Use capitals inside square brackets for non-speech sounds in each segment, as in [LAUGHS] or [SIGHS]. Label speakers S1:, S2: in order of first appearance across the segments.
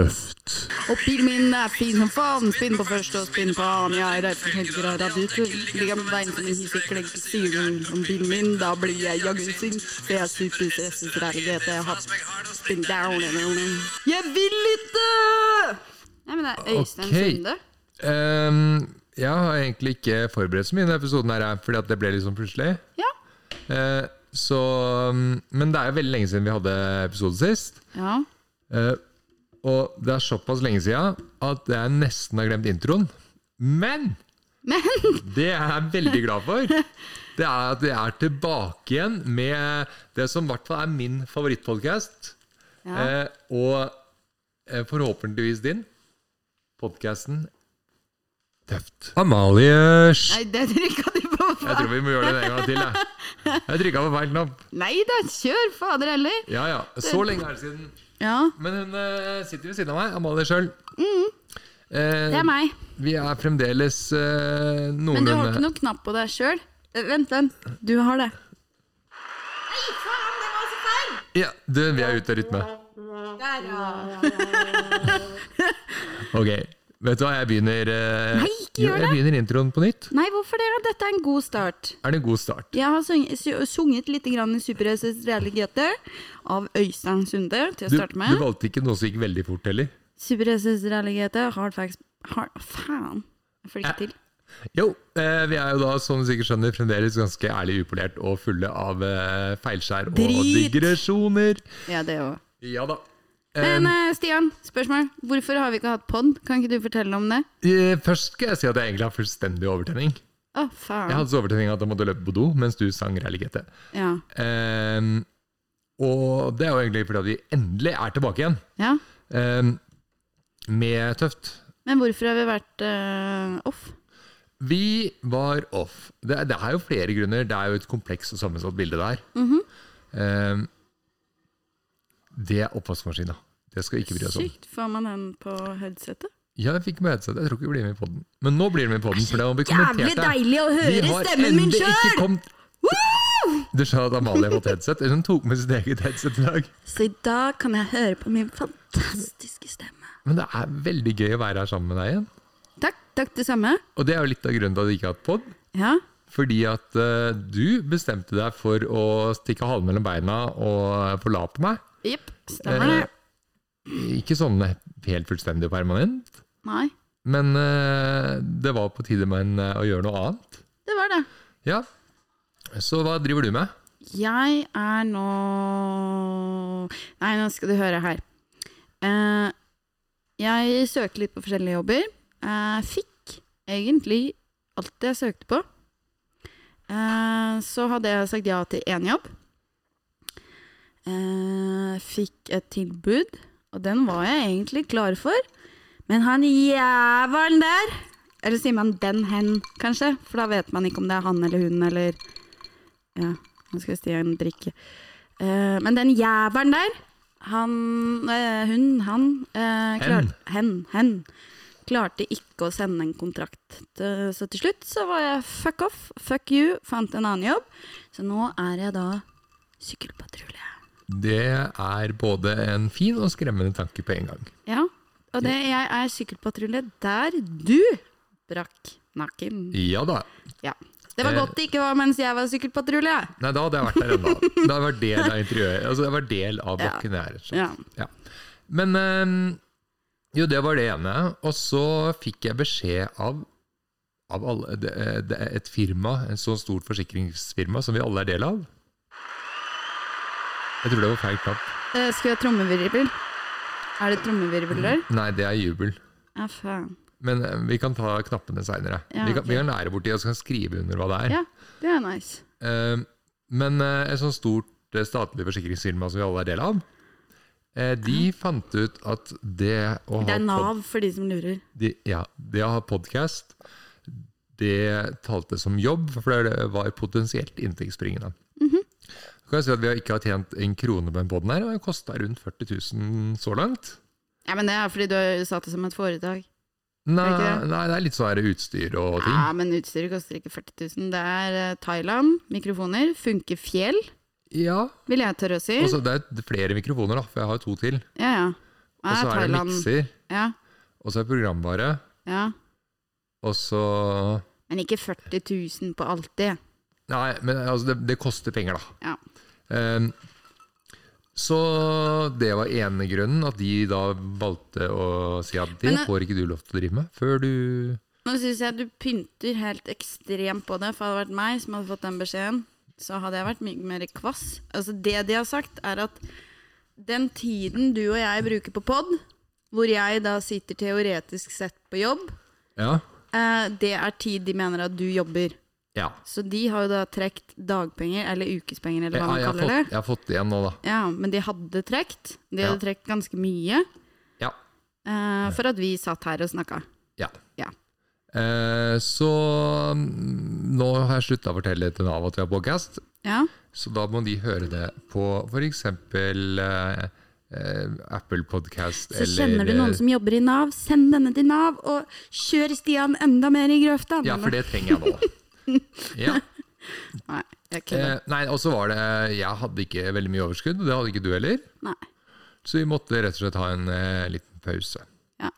S1: Tøft.
S2: Og bilen min er fin som faen. Spinn på første og spinn på annen. Jeg er redd for tenker og redd ut. Ligger med bein som en hisseklegg. Sier du om bilen min, da blir jeg jaggu sint. For jeg er superstresset, rævete. Jeg har spinn down. Jeg vil ikke! Nei, men det er Øystein
S1: Ok.
S2: Sunde.
S1: Ehm, jeg har egentlig ikke forberedt så mye i denne episoden, her, jeg, fordi at det ble litt sånn plutselig.
S2: Ja.
S1: Eh, så, mm, men det er jo veldig lenge siden vi hadde episode sist.
S2: ja.
S1: Eh, og det er såpass lenge siden at jeg nesten har glemt introen. Men
S2: Men [LAUGHS]
S1: det jeg er veldig glad for, det er at vi er tilbake igjen med det som i hvert fall er min favorittpodkast.
S2: ja.
S1: Eh, og eh, forhåpentligvis din. Podkasten Tøft. Amalie Sch-
S2: Nei, det trykka du på.
S1: Jeg tror vi må gjøre det en gang til, jeg. Jeg trykka på feil knapp.
S2: Nei da, kjør fader heller.
S1: Ja, ja. Så lenge er det siden.
S2: Ja,
S1: Men hun eh, sitter ved siden av meg, Amalie sjøl.
S2: Mm-hmm. det er meg.
S1: Vi er fremdeles eh,
S2: Men du har ikke
S1: noenlunde
S2: noen knapp på deg sjøl? Vent, vent. Du har det.
S1: ja, du, Vi er ute av rytme.
S2: [LAUGHS]
S1: Ok. Vet du hva, jeg begynner eh,
S2: Nei, ikke
S1: jo,
S2: gjør
S1: Jeg begynner introen på nytt.
S2: Nei, hvorfor det? da? Dette er en god start.
S1: Er det en god start?
S2: Jeg har sung- su- sunget litt grann i Superhøysets reelle Grete av Øystein Sunde til å
S1: Du,
S2: starte
S1: du
S2: med.
S1: valgte ikke noe som gikk veldig fort heller.
S2: Superhøysets reelle Grete, hard facts hard, Faen, jeg får det ikke til.
S1: Jo, eh, vi er jo da, som du sikkert skjønner, fremdeles ganske ærlig upolert og fulle av eh, feilskjær og
S2: Drit!
S1: digresjoner.
S2: Ja, det også.
S1: Ja da. Eh,
S2: Men eh, Stian, spørsmål. Hvorfor har vi ikke hatt pod? Kan ikke du fortelle om det?
S1: eh, først skal jeg si at jeg egentlig har fullstendig overtenning.
S2: Å,
S1: Jeg
S2: faen.
S1: hadde så overtenning at jeg måtte løpe på do mens du sang Rally-GT.
S2: Ja.
S1: Ehm, og det er jo egentlig fordi at vi endelig er tilbake igjen
S2: ja.
S1: ehm, med Tøft.
S2: Men hvorfor har vi vært eh, off?
S1: Vi var off. Det, det er jo flere grunner. Det er jo et komplekst og sammensatt bilde der.
S2: Mhm.
S1: Ehm, det er oppvaskmaskina. Det skal vi ikke bry oss om.
S2: Sykt. Får man den på headsetet?
S1: Ja, jeg fikk med headset. Jeg tror ikke vi blir med i podden. Men nå blir vi med i podden, for det må bli
S2: Jævlig
S1: kommentert. her.
S2: deilig å
S1: Vi
S2: høre
S1: har
S2: stemmen min
S1: endelig ikke
S2: sjøl!
S1: kommet- Du skjønner at Amalie har fått headset? Hun tok med sitt eget headset i dag.
S2: Så i dag kan jeg høre på min fantastiske stemme.
S1: Men det er veldig gøy å være her sammen med deg igjen.
S2: Takk, takk, det samme.
S1: Og det er jo litt av grunnen til at vi ikke har hatt pod.
S2: Ja.
S1: Fordi at eh, du bestemte deg for å stikke halen mellom beina og forlate meg.
S2: Jepp. Stemmer det.
S1: Eh, ikke sånn helt fullstendig og permanent,
S2: Nei,
S1: men eh, det var på tide med en, eh, å gjøre noe annet.
S2: det var det.
S1: Ja. Så hva driver du med?
S2: Jeg er nå Nei, nå skal du høre her. Eh, jeg søker litt på forskjellige jobber. Jeg fikk egentlig alt det jeg søkte på. Eh, så hadde jeg sagt ja til én jobb. Eh, fikk et tilbud, og den var jeg egentlig klar for. Men han jævelen der Eller sier man 'den hen', kanskje? For da vet man ikke om det er han eller hun eller Ja, nå skal Stian drikke. Eh, men den jævelen der, han eh, Hun, han eh, klar, hen. hen. Klarte ikke å sende en kontrakt. Eh, Så til slutt så var jeg fuck off, fuck you, fant en annen jobb. Så nå er jeg da sykkelpatrulje.
S1: Det er både en fin og skremmende tanke på en gang.
S2: Ja, og det, jeg er sykkelpatrulje der du brakk nakken.
S1: Ja da.
S2: Ja. Det var
S1: Eh.
S2: godt det ikke var mens jeg var sykkelpatrulje.
S1: Nei, da hadde jeg vært der ennå. Da hadde jeg vært del av interiøret. Altså, det var del av
S2: Ja.
S1: blokken her. rett og slett.
S2: Ja.
S1: Ja. Men ehm, jo, det var det ene. Og så fikk jeg beskjed av, av alle, det, eh, det er et firma, en så stort forsikringsfirma som vi alle er del av. Jeg tror det var feil knapp.
S2: Eh, Skal jeg ha trommevirvel? Er det trommevirvel der?
S1: Nei, det er jubel.
S2: Ja, faen.
S1: Men eh, vi kan ta knappene seinere.
S2: Ja,
S1: vi, kan-
S2: ok.
S1: vi kan lære borti og så kan jeg skrive under hva det er.
S2: Ja, det er nice.
S1: Eh, men eh, et sånt stort eh, statlig forsikringsfirma som vi alle er del av, eh, de fant ut at det å
S2: Det
S1: ha
S2: er
S1: pod-
S2: Nav for de som lurer.
S1: de, ja, det å ha podkast, det talte som jobb, for det var potensielt inntektsbringende.
S2: Mhm.
S1: Så kan jeg si at Vi har ikke har tjent en krone på den poden her, og det kosta rundt 40 000 så langt.
S2: Ja, men det er fordi du har satt det som et foretak. Er det Ah. ikke
S1: Nei,
S2: det?
S1: nei, det er litt sånn her utstyr og ting.
S2: Ja, men utstyret koster ikke 40 000. Det er eh, Thailand, mikrofoner, funker fjell,
S1: Ja,
S2: vil jeg tørre å si.
S1: og så Det er flere mikrofoner, da, for jeg har jo to til.
S2: Ja, ja.
S1: Og så er det
S2: Ah, Thailand.
S1: mikser,
S2: Ja,
S1: og så er det programvare,
S2: ja.
S1: og så
S2: Men ikke 40 000 på alt det.
S1: Nei, men altså, det, det koster penger, da.
S2: Ja.
S1: Ehm, så det var ene grunnen, at de da valgte å si at det
S2: Men, eh,
S1: får ikke du lov til å drive med før du
S2: Nå syns jeg du pynter helt ekstremt på det, for hadde det vært meg som hadde fått den beskjeden, så hadde jeg vært mye mer kvass. Altså Det de har sagt, er at den tiden du og jeg bruker på pod, hvor jeg da sitter teoretisk sett på jobb,
S1: Ja.
S2: eh, det er tid de mener at du jobber.
S1: ja.
S2: Så de har jo da trukket dagpenger, eller ukespenger, eller
S1: Jeg,
S2: hva man
S1: jeg, har
S2: kaller
S1: fått,
S2: det.
S1: jeg har fått det igjen nå, da.
S2: Ja, Men de hadde trukket. De
S1: Ja.
S2: hadde trukket ganske mye
S1: Ja.
S2: eh, for at vi satt her og snakka.
S1: ja.
S2: Ja.
S1: Eh, så mm, nå har jeg slutta å fortelle til Nav at vi har podcast,
S2: Ja.
S1: så da må de høre det på f.eks. Eh, eh, Apple Podcast
S2: Så
S1: eller eh,
S2: kjenner du noen som jobber i Nav, send denne til Nav, og kjør Stian enda mer i grøfta.
S1: eh, Ja, for det trenger
S2: [LAUGHS]
S1: jeg nå. Ja.
S2: Nei, jeg kødder.
S1: Eh, nei, og så var det Jeg hadde ikke veldig mye overskudd, og det hadde ikke du heller.
S2: Nei.
S1: Så vi måtte rett og slett ha en eh, liten pause.
S2: Ja.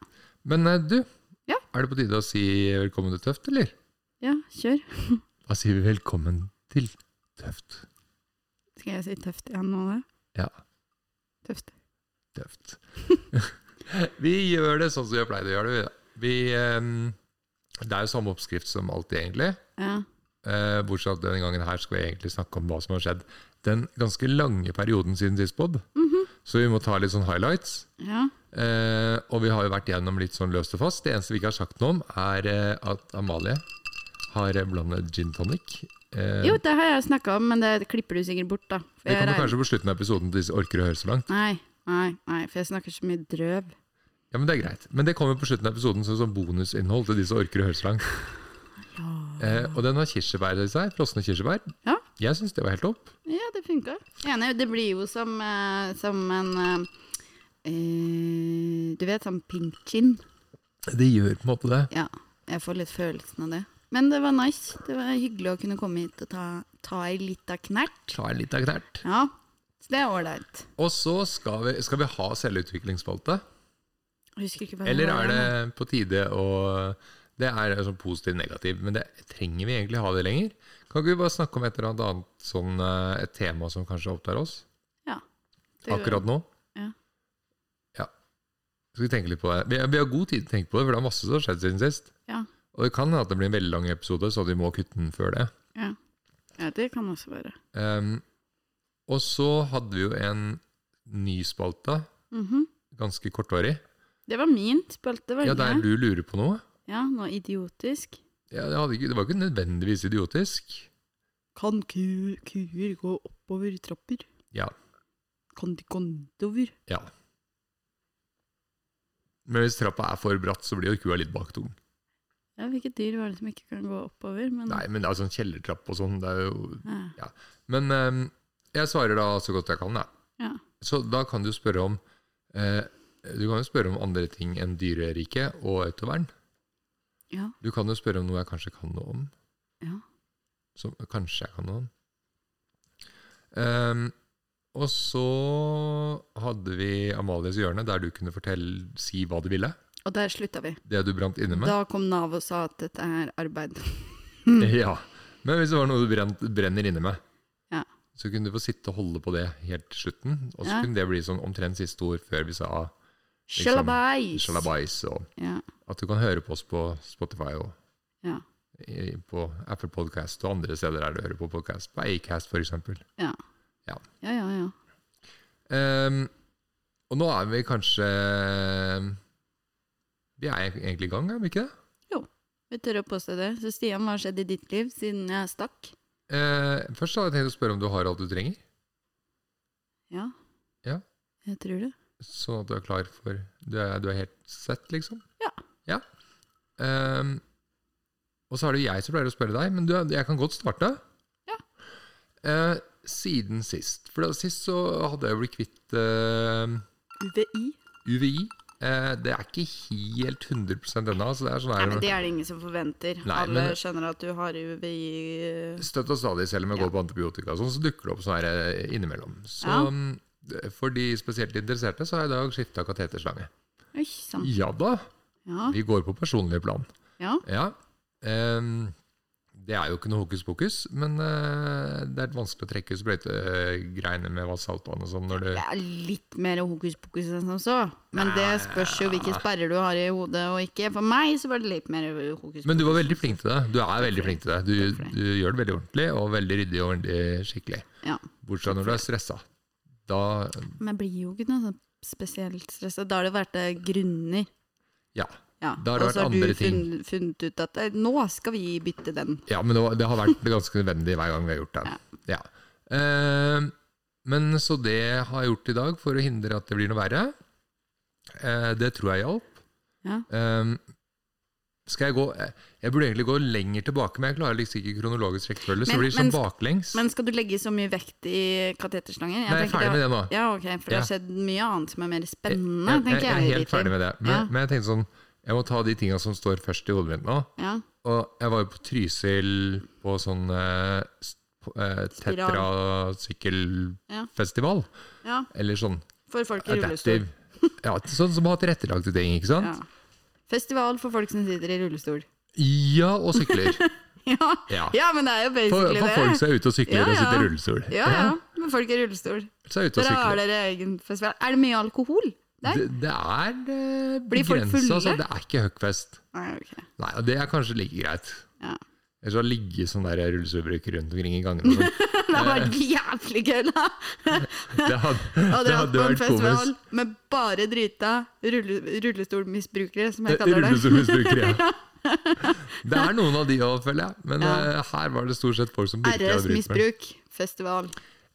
S1: Men eh, du,
S2: Ja.
S1: er det på tide å si velkommen til Tøft, eller?
S2: ja, kjør.
S1: Da sier vi velkommen til Tøft.
S2: Skal jeg si tøft igjen nå? da?
S1: Ja,
S2: Tøft.
S1: Tøft. [LAUGHS] vi gjør det sånn som vi har pleid å gjøre det. Vi, da. vi eh, det er jo samme oppskrift som alltid, egentlig.
S2: Ja.
S1: Eh, bortsett fra at denne gangen her skal vi egentlig snakke om hva som har skjedd den ganske lange perioden siden sist pod. Så vi må ta litt sånn highlights.
S2: Mhm. ja.
S1: Eh, og vi har jo vært gjennom litt sånn løst og fast. Det eneste vi ikke har sagt noe om, er eh, at Amalie har eh, blandet gin tonic. Eh,
S2: Jo, det har jeg snakka om, men det klipper du sikkert bort, da. For
S1: det
S2: jeg
S1: kommer
S2: regner-
S1: kanskje på slutten av episoden hvis du orker å høre så langt.
S2: Nei, nei, nei, for jeg snakker så mye drøv.
S1: Ja, Men det er greit. Men det kommer på slutten av episoden som sånn bonusinnhold til de som orker å høre så langt. Eh, og den har kirsebær i seg. Frosne kirsebær.
S2: Ja.
S1: Jeg syns det var helt topp.
S2: Ja, det funka. Enig. Det blir jo som, eh, som en eh, eh, Du vet, sånn pink gin.
S1: Det gjør på en måte det.
S2: Ja, jeg får litt følelsen av det. Men det var nice. Det var hyggelig å kunne komme hit og ta, ta ei lita knert.
S1: Ta litt av knert.
S2: Ja, så det er ålreit.
S1: Og så skal vi, skal vi ha selvutviklingsspalte.
S2: Jeg Husker ikke hva det
S1: Eller
S2: var,
S1: er det
S2: men-
S1: på tide å Det er sånn positiv-negativ, men det trenger vi egentlig ha det lenger? Kan ikke vi bare snakke om et eller annet annet sånn eh, et tema som kanskje opptar oss
S2: Ja. Det går-
S1: akkurat nå?
S2: Ja.
S1: Ja. Skal vi tenke litt på det? Vi, vi har god tid til å tenke på det, for det er masse som har skjedd siden sist.
S2: Ja.
S1: Og det kan hende at det blir en veldig lang episode, så vi må kutte den før det.
S2: Ja. ja, det kan også være.
S1: Ehm, og så hadde vi jo en ny spalte,
S2: Mhm.
S1: ganske kortvarig,
S2: Det var min spalte, var
S1: ja,
S2: det
S1: der
S2: ikke?
S1: du lurer på noe.
S2: Ja, noe idiotisk.
S1: Ja, det, hadde ikke, det var ikke nødvendigvis idiotisk.
S2: Kan ku, kuer gå oppover trapper?
S1: Ja.
S2: Kan de gå nedover?
S1: Ja. Men hvis trappa er for bratt, så blir jo kua litt baktung.
S2: Ja, hvilket dyr var det som ikke kan gå oppover? Men,
S1: Nei, men det er sånn kjellertrapp og sånn. Det er jo
S2: Ja.
S1: Men eh, jeg svarer da så godt jeg kan, da.
S2: Ja.
S1: Så da kan du spørre om eh, Du kan jo spørre om andre ting enn dyreriket og autovern.
S2: Ja.
S1: Du kan jo spørre om noe jeg kanskje kan noe om.
S2: Ja.
S1: Som kanskje jeg kan noe om. Ehm, og så hadde vi Amalies hjørne, der du kunne fortelle, si hva du ville.
S2: Og der slutta vi.
S1: Det du brant inne med.
S2: Da kom Nav og sa at dette er
S1: [LAUGHS]
S2: arbeid. Mm.
S1: Ja, men hvis det var noe du brent, brenner inne med,
S2: Ja.
S1: så kunne du få sitte og holde på det helt til slutten. Og så
S2: Ja.
S1: kunne det bli sånn omtrent siste ord før vi sa
S2: Shalabais!
S1: liksom sjalabais, og
S2: Ja.
S1: at du kan høre på oss på Spotify og
S2: Ja.
S1: i- på Apple Podcast og andre steder der du hører på podcast, på Acast for eksempel.
S2: Ja.
S1: Ja.
S2: ja, ja, ja.
S1: Ehm, og nå er vi kanskje Vi er egentlig i gang, er vi ikke det?
S2: Vi tør å påstå det. Så Stian, hva har skjedd i ditt liv siden jeg stakk?
S1: Ehm, først hadde jeg tenkt å spørre om du har alt du trenger,
S2: Ja.
S1: Ja.
S2: Jeg tror det.
S1: sånn at du er klar for Du er, du er helt sett, liksom?
S2: Ja.
S1: Ja. Ehm, og så er det jo jeg som pleier å spørre deg, men du, jeg kan godt starte.
S2: Ja.
S1: Eh, siden sist. For da, sist så hadde jeg jo blitt kvitt eh,
S2: UVI?
S1: UVI. Eh, det er ikke helt 100 ennå. Så det er sånn
S2: Nei, men
S1: her
S2: Det er det ingen som forventer.
S1: Nei,
S2: Alle
S1: men-
S2: skjønner at du har UVI eh,
S1: støtt og stadig, selv om jeg
S2: Ja.
S1: går på antibiotika, og sånn, så dukker det opp sånn her eh, innimellom. Så
S2: Ja.
S1: mm, For de spesielt interesserte så har jeg i dag skifta kateterslange.
S2: Oi sann.
S1: Ja da,
S2: Ja.
S1: vi går på personlig plan.
S2: ja.
S1: Ja. ehm, det er jo ikke noe hokus pokus, men eh, det er vanskelig å trekke sprøytegreiene med saltvann og sånn når du
S2: Det er litt mer hokus pokus enn som så. Men det spørs jo hvilke sperrer du har i hodet og ikke. For meg så var det litt mer hokus pokus.
S1: Men du var veldig flink til det. Du er veldig flink til det. Du, du gjør det veldig ordentlig, og veldig ryddig og ordentlig skikkelig.
S2: Ja.
S1: Bortsett fra når du er stressa. Da
S2: Men jeg blir jo ikke noe sånn spesielt stressa. Da har det vært eh, grunner.
S1: Ja.
S2: Ja.
S1: Da har det
S2: og så
S1: vært andre
S2: du funnet, funnet ut at eh, nå skal vi bytte den.
S1: ja men det, var, det har vært ganske nødvendig hver gang vi har gjort det. Ja. Ehm, men så det har jeg gjort i dag for å hindre at det blir noe verre. Eh, det tror jeg hjalp.
S2: Ja.
S1: Ehm, skal jeg gå Jeg burde egentlig gå lenger tilbake, men jeg klarer liksom ikke kronologisk rekkefølge, så
S2: Men-
S1: det blir
S2: men-
S1: sånn baklengs.
S2: Men skal du legge så mye vekt i kateterslanger?
S1: Nei, jeg er ferdig med det nå.
S2: Ja, ok, for det har
S1: Ja.
S2: skjedd mye annet som er mer spennende,
S1: jeg, jeg,
S2: tenker jeg.
S1: jeg er helt ferdig med det. Men,
S2: Ja.
S1: men jeg tenkte sånn Jeg må ta de tinga som står først i hodet mitt nå.
S2: Ja.
S1: Og jeg var jo på Trysil på sånn eh, s- på, eh,
S2: Spiral. Ja.
S1: tetrasykkelfestival.
S2: ja,
S1: Eller sånn
S2: for folk i rullestol.
S1: adaptive. [LAUGHS] Ja, sånn som har tilrettelagte ting, ikke
S2: Ja.
S1: sant?
S2: Festival for folk som sitter i rullestol. [LAUGHS]
S1: Ja, og sykler.
S2: Ja,
S1: Ja.
S2: ja men det er jo
S1: For,
S2: basically
S1: for folk
S2: det.
S1: som er ute og sykler
S2: Ja,
S1: og sitter
S2: ja.
S1: i rullestol.
S2: Ja, ja, men folk i rullestol.
S1: Så er jeg ute og
S2: Dere
S1: sykler.
S2: har dere egen festival. Er det mye alkohol? Der?
S1: Det, det er eh,
S2: Blir folk
S1: begrensa,
S2: fulle?
S1: så det er ikke høgfest.
S2: Nei, ok.
S1: Nei, og det er kanskje like greit.
S2: Ja. [LAUGHS]
S1: Ellers har det ligget sånne sånn der rullestolbrukere rundt omkring i gangene. og
S2: [LAUGHS]
S1: sånn.
S2: Det hadde vært jævlig gøy, da!
S1: Det hadde,
S2: Å
S1: det
S2: dra
S1: hadde
S2: på en
S1: vært
S2: festival
S1: komisk.
S2: med bare drita rulle, rullestolmisbrukere, som jeg kaller det. [LAUGHS]
S1: Rullestolmisbrukere, ja. Det er noen av de òg, føler jeg. Men
S2: Ja.
S1: eh, her var det stort sett folk som virkelig hadde brukt for det.
S2: RS-misbruk festival.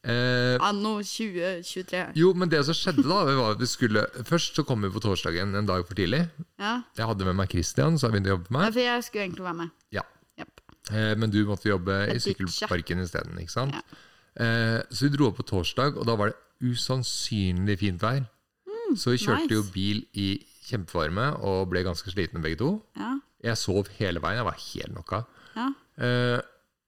S1: Eh,
S2: Anno 2023.
S1: jo, men det som skjedde da, det var at vi skulle Først så kom vi på torsdagen en dag for tidlig.
S2: Ja.
S1: Jeg hadde med meg Christian, så har begynt å
S2: ja,
S1: jobbe med meg.
S2: for jeg skulle egentlig være med.
S1: Ja.
S2: Japp.
S1: Eh, men du måtte jobbe i
S2: Jeg ditcha.
S1: sykkelparken isteden. ikke sant?
S2: Ja.
S1: Eh, så vi dro opp på torsdag, og da var det usannsynlig fint vær. så vi kjørte
S2: Mm, nice.
S1: jo bil i kjempevarme og ble ganske slitne begge to.
S2: Ja.
S1: Jeg sov hele veien, jeg var helt knocka.
S2: Ja.
S1: Eh,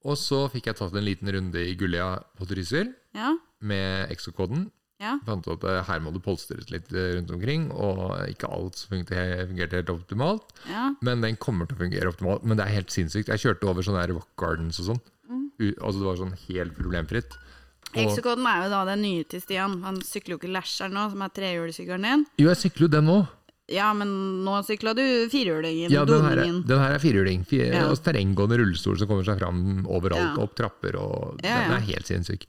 S1: og så fikk jeg tatt en liten runde i Gullia på Trysil
S2: Ja.
S1: med eksokoden.
S2: Ja.
S1: Fant ut at eh, her må det polstres litt eh, rundt omkring, og ikke alt som fungerte fungerte helt optimalt.
S2: ja.
S1: Men den kommer til å fungere optimalt. Men det er helt sinnssykt. Jeg kjørte over sånne her rock gardens og sånn.
S2: Mm.
S1: U altså Det var sånn helt problemfritt. Og,
S2: Exocoden er jo da den nye til Stian. Han sykler jo ikke Lasher nå, som er trehjulssykkelen din.
S1: jo, jeg sykler jo den òg.
S2: Ja, men nå sykla du firehjulingen.
S1: Ja, den her,
S2: doningen.
S1: den her er firhjuling. Fi-
S2: Ja.
S1: altså Terrenggående rullestol som kommer seg fram
S2: Ja.
S1: overalt, opp trapper og
S2: Ja, ja.
S1: Den er helt sinnssyk.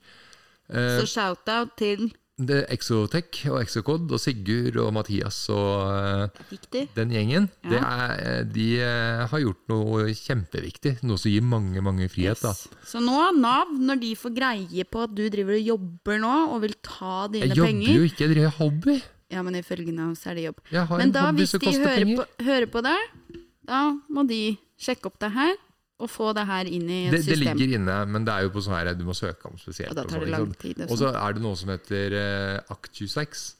S2: Så shout-out til
S1: Det er Exotech og Exocod og Sigurd og Mathias og eh,
S2: Riktig.
S1: den gjengen,
S2: Ja.
S1: det er, eh, de eh, har gjort noe kjempeviktig. Noe som gir mange, mange frihet. da.
S2: Så nå, Nav, når de får greie på at du driver og jobber nå og vil ta dine
S1: Jeg jobber
S2: penger
S1: jo ikke, jeg driver hobby.
S2: Ja, men ifølge Nav så er det jobb.
S1: Jeg har
S2: Men
S1: en
S2: da,
S1: hobby
S2: hvis
S1: som
S2: de
S1: koster
S2: hører
S1: penger.
S2: på, hører på deg, da må de sjekke opp det her og få det her inn i et
S1: det, det
S2: system.
S1: ligger inne, men det er jo på sånn her du må søke om spesielt.
S2: Og da tar
S1: sånn,
S2: det
S1: ikke
S2: lang
S1: sant?
S2: tid. og
S1: Og
S2: sånn.
S1: så er det noe som heter eh, ACT26.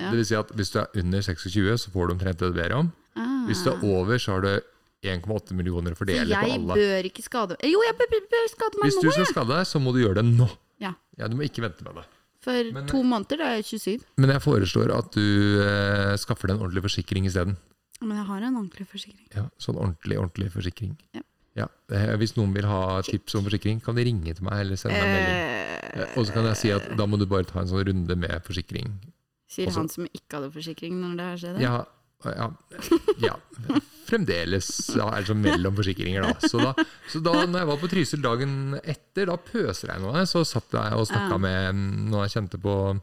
S2: Ja.
S1: Det vil si at hvis du er under 26, så får du omtrent det du ber om.
S2: Ah.
S1: Hvis du er over, så har du 1,8 millioner å
S2: Så
S1: fordele på
S2: jeg
S1: alle.
S2: bør ikke skade Jo, jeg bør, bør- bør skade meg
S1: Hvis
S2: nå!
S1: du skal skade deg, så må du gjøre det nå.
S2: Ja.
S1: du må ikke vente med det.
S2: For
S1: Men-
S2: to måneder, da er jeg 27.
S1: Men jeg foreslår at du eh, skaffer deg en ordentlig forsikring isteden.
S2: Men jeg har en ordentlig forsikring.
S1: Ja, sånn ordentlig, ordentlig forsikring.
S2: Ja.
S1: eh, Hvis noen vil ha tips om forsikring, kan de ringe til meg eller sende meg en melding. Eh, Og så kan jeg si at da må du bare ta en sånn runde med forsikring
S2: Sier
S1: Også-
S2: han som ikke hadde forsikring når det her skjedde.
S1: Ja, ja, ja. Fremdeles ja, er det sånn mellom forsikringer, da. Så, da. så da når jeg var på Trysil dagen etter, da pøsregna det. Så satt jeg og snakka
S2: Ja.
S1: med noen jeg kjente på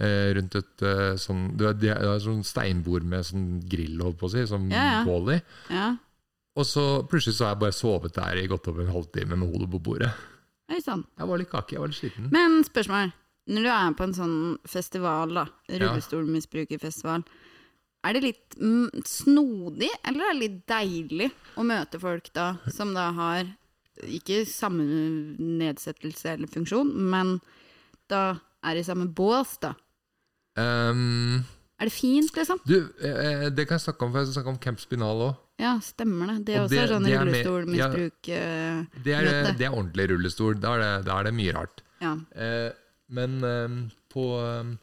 S1: eh, rundt et eh, sånn Du vet, de har- de har sånn steinbord med sånn grill, holdt på å si, som
S2: Ja, ja.
S1: bål i.
S2: Ja.
S1: Og så plutselig så har jeg bare sovet der i godt over en halvtime med hodet på bordet.
S2: Oi sann.
S1: Jeg var litt kake, jeg var litt sliten.
S2: Men spørsmål. Når du er på en sånn festival, da, rullestolmisbrukerfestival, er det litt mm, snodig, eller er det litt deilig å møte folk da, som da har ikke samme nedsettelse eller funksjon, men da er i samme bås, da?
S1: Ehm,
S2: Er det fint, liksom?
S1: du, eh, det kan jeg snakke om, for jeg skal snakke om Camp Spinal òg.
S2: Ja, stemmer det. Det
S1: Og
S2: er også
S1: det-
S2: sånn
S1: det er mer-
S2: rullestolmisbruk eh,
S1: Det er,
S2: Møte.
S1: det er ordentlig rullestol. Da er det, da er det mye rart.
S2: Ja.
S1: Eh, Men eh, på, eh,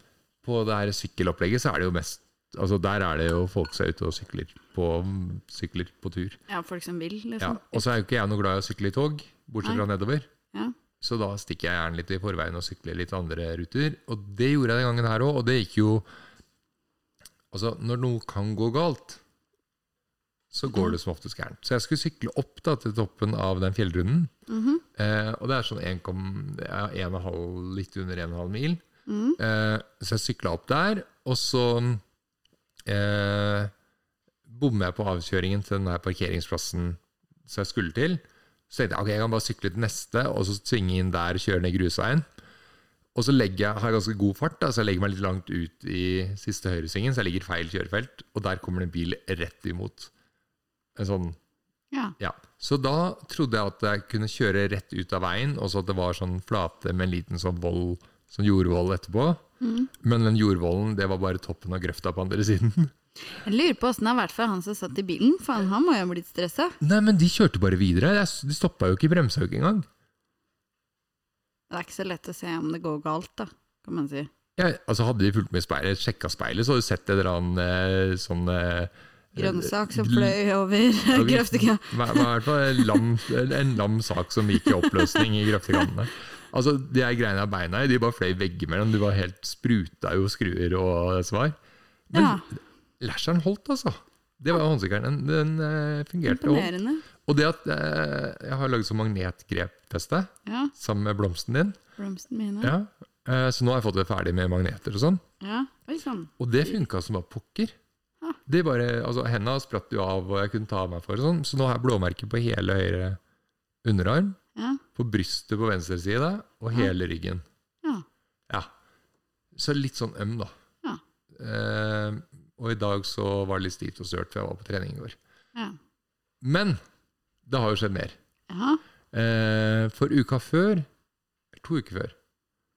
S1: på det her sykkelopplegget så er det jo mest Altså Der er det jo folk som er ute og sykler på, sykler på tur.
S2: Ja, folk som vil,
S1: Ja,
S2: liksom.
S1: og så er jo ikke jeg noe glad i å sykle i tog, bortsett fra nedover.
S2: Ja.
S1: Så da stikker jeg gjerne litt i forveien og sykler litt andre ruter. Og det gjorde jeg den gangen her òg, og det gikk jo Altså, når noe kan gå galt, så går det som oftest gærent. Så jeg skulle sykle opp da til toppen av den fjellrunden.
S2: Mhm.
S1: eh, og det er sånn 1, kom- ja, 1,5, litt under 1,5 mil.
S2: Mhm.
S1: Eh, så jeg sykla opp der, og så eh, bommer jeg på avkjøringen til den der parkeringsplassen som jeg skulle til. Så tenkte jeg ok, jeg kan bare sykle til neste, og så svinge inn der, kjøre ned grusveien. Og så legger jeg, har jeg ganske god fart, da, så jeg legger meg litt langt ut i siste høyresvingen, så jeg ligger i feil kjørefelt, og der kommer det en bil rett imot. En sånn,
S2: ja.
S1: ja. Så da trodde jeg at jeg kunne kjøre rett ut av veien, og så at det var sånn flate med en liten sånn vold, sånn jordvoll etterpå.
S2: Mhm.
S1: Men den jordvollen, det var bare toppen av grøfta på andre [LAUGHS] siden.
S2: Jeg lurer på åssen det har vært for han som satt i bilen. Faen, han må jo ha blitt stressa.
S1: Nei, men de kjørte bare videre. Jeg s- De stoppa jo ikke, bremsa jo ikke engang.
S2: Det er ikke så lett å se om det går galt, da, kan man si.
S1: Jeg, altså Hadde de fulgt med i speilet, sjekka speilet, så hadde du sett en eller annen eh, sånn eh,
S2: Grønnsak som
S1: l-
S2: fløy
S1: [LAUGHS]
S2: over grøftekanten.
S1: Hva- hva er det for en lam, en- en lam sak som gikk i oppløsning i grøftekantene. Altså, De her greiene av beina i, de bare fløy veggimellom. Du var helt spruta jo skruer og svar. Men
S2: Ja,
S1: lasheren holdt, altså. Det var håndsykkelen. Den, den eh, fungerte. Og,
S2: imponerende.
S1: og det at eh, jeg har laget sånn magnetgrepfeste
S2: Ja,
S1: sammen med blomsten din,
S2: blomsten mine. Ja.
S1: ja. Eh, så nå har jeg fått det ferdig med magneter og sånn.
S2: Oi sann.
S1: Og det funka som bare pokker.
S2: Ja.
S1: Det bare, altså Henda spratt jo av, og jeg kunne ta av meg for og sånn. Så nå har jeg blåmerke på hele høyre underarm,
S2: Ja.
S1: på brystet på venstre side og hele ryggen.
S2: ja.
S1: Ja. Så litt sånn øm, da.
S2: Ja.
S1: Eh, og i dag så var det litt stivt og sørt, for jeg var på trening i går.
S2: Ja.
S1: Men det har jo skjedd mer.
S2: ja.
S1: Eh, for uka før, eller to uker før,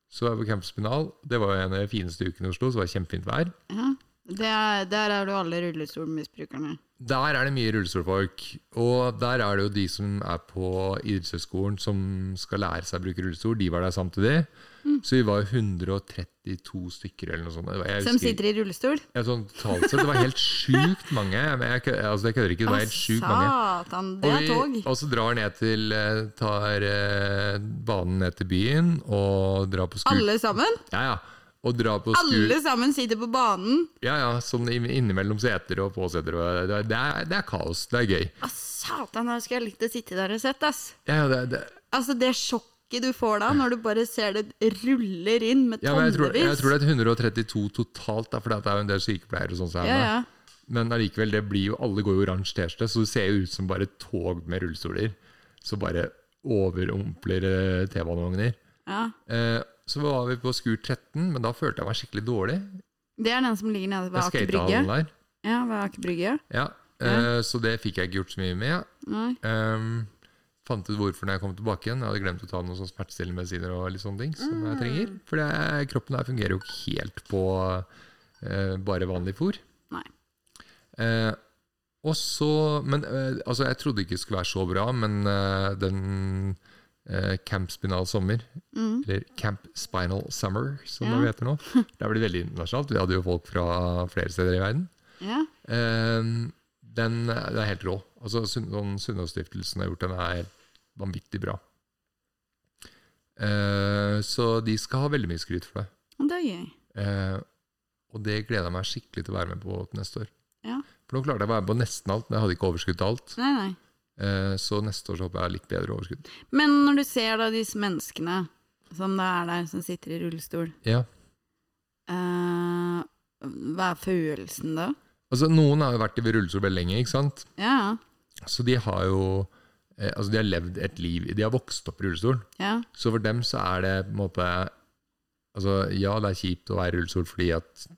S1: så var jeg på Campus Spinal. Det var jo en av de fineste ukene i Oslo, så det var kjempefint vær.
S2: ja. Det er, der er du alle rullestolmisbrukerne.
S1: Der er det mye rullestolfolk, og der er det jo de som er på idrettshøyskolen som skal lære seg å bruke rullestol, de var der samtidig.
S2: Mm.
S1: Så vi var 132 stykker eller noe sånt. Det var- Jeg
S2: Som
S1: husker ikke-
S2: sitter i rullestol.
S1: ja, sånn totalt sett, det var helt sjukt mange. Jeg, jeg, kø- altså, jeg kødder ikke, det var helt sjukt mange.
S2: Satan, det
S1: Og
S2: er tog.
S1: vi og så drar ned til eh, Tar eh, banen ned til byen og drar på scoot.
S2: Alle sammen.
S1: Ja, ja. Og drar på scoot.
S2: Alle sammen sitter på banen.
S1: Ja, ja. Sånn i- innimellom seter og påseter. Og det, det, er, det er kaos. Det er gøy.
S2: Å, satan, jeg skulle jeg likt å sitte der og sett, ass.
S1: Ja, ja, det, det,
S2: Altså, det sjokket du får da, når du bare ser det ruller inn med
S1: ja men jeg, tror, jeg
S2: tonnevis.
S1: tror det er 132 totalt, da, for det er jo en del sykepleiere og sånn. som er
S2: Ja,
S1: med.
S2: ja.
S1: Men allikevel, det blir jo Alle går i oransje T-skjorte, så det ser jo ut som bare tog med rullestoler. Så bare overrumpler eh, T-banevogner.
S2: ja.
S1: Eh, så var vi på skur 13, men da følte jeg meg skikkelig dårlig.
S2: Det er den som ligger nede ved
S1: Jeg
S2: Aker
S1: skatet
S2: Brygge.
S1: hallen der.
S2: Ja, ved Aker Brygge.
S1: Ja. eh, så det fikk jeg ikke gjort så mye med.
S2: Nei.
S1: Ehm, fant ut hvorfor når jeg kom tilbake igjen. Jeg hadde glemt å ta noen sånn smertestillende medisiner og litt sånne ting som
S2: Mm.
S1: jeg trenger. For det, kroppen her fungerer jo ikke helt på eh, bare vanlig fôr.
S2: Nei.
S1: Eh, og så Men eh, altså, jeg trodde ikke det skulle være så bra, men eh, den eh, Camp Spinal Sommer,
S2: Mm.
S1: eller Camp Spinal Summer, som
S2: Ja.
S1: det heter nå
S2: [LAUGHS]
S1: Det blir veldig internasjonalt. Vi hadde jo folk fra flere steder i verden.
S2: Ja.
S1: Eh, den, den er helt rå. Altså, Sunn- sånn Sunnaas-stiftelsen har gjort den er vanvittig bra. Eh, så de skal ha veldig mye skryt for det.
S2: Og Det er gøy.
S1: Eh, og det gleder jeg meg skikkelig til å være med på til neste år.
S2: Ja.
S1: For nå klarte jeg å være med på nesten alt, men jeg hadde ikke overskudd til alt.
S2: Nei, nei.
S1: Eh, så neste år så håper jeg har litt bedre overskudd.
S2: Men når du ser da disse menneskene som da er der, som sitter i rullestol,
S1: Ja.
S2: eh, hva er følelsen da?
S1: Altså, noen har jo vært i rullestol veldig lenge, ikke sant?
S2: Ja,
S1: Så de har jo eh, altså, de har levd et liv De har vokst opp i rullestol.
S2: ja.
S1: Så for dem så er det på en måte Altså, ja, det er kjipt å være i rullestol fordi at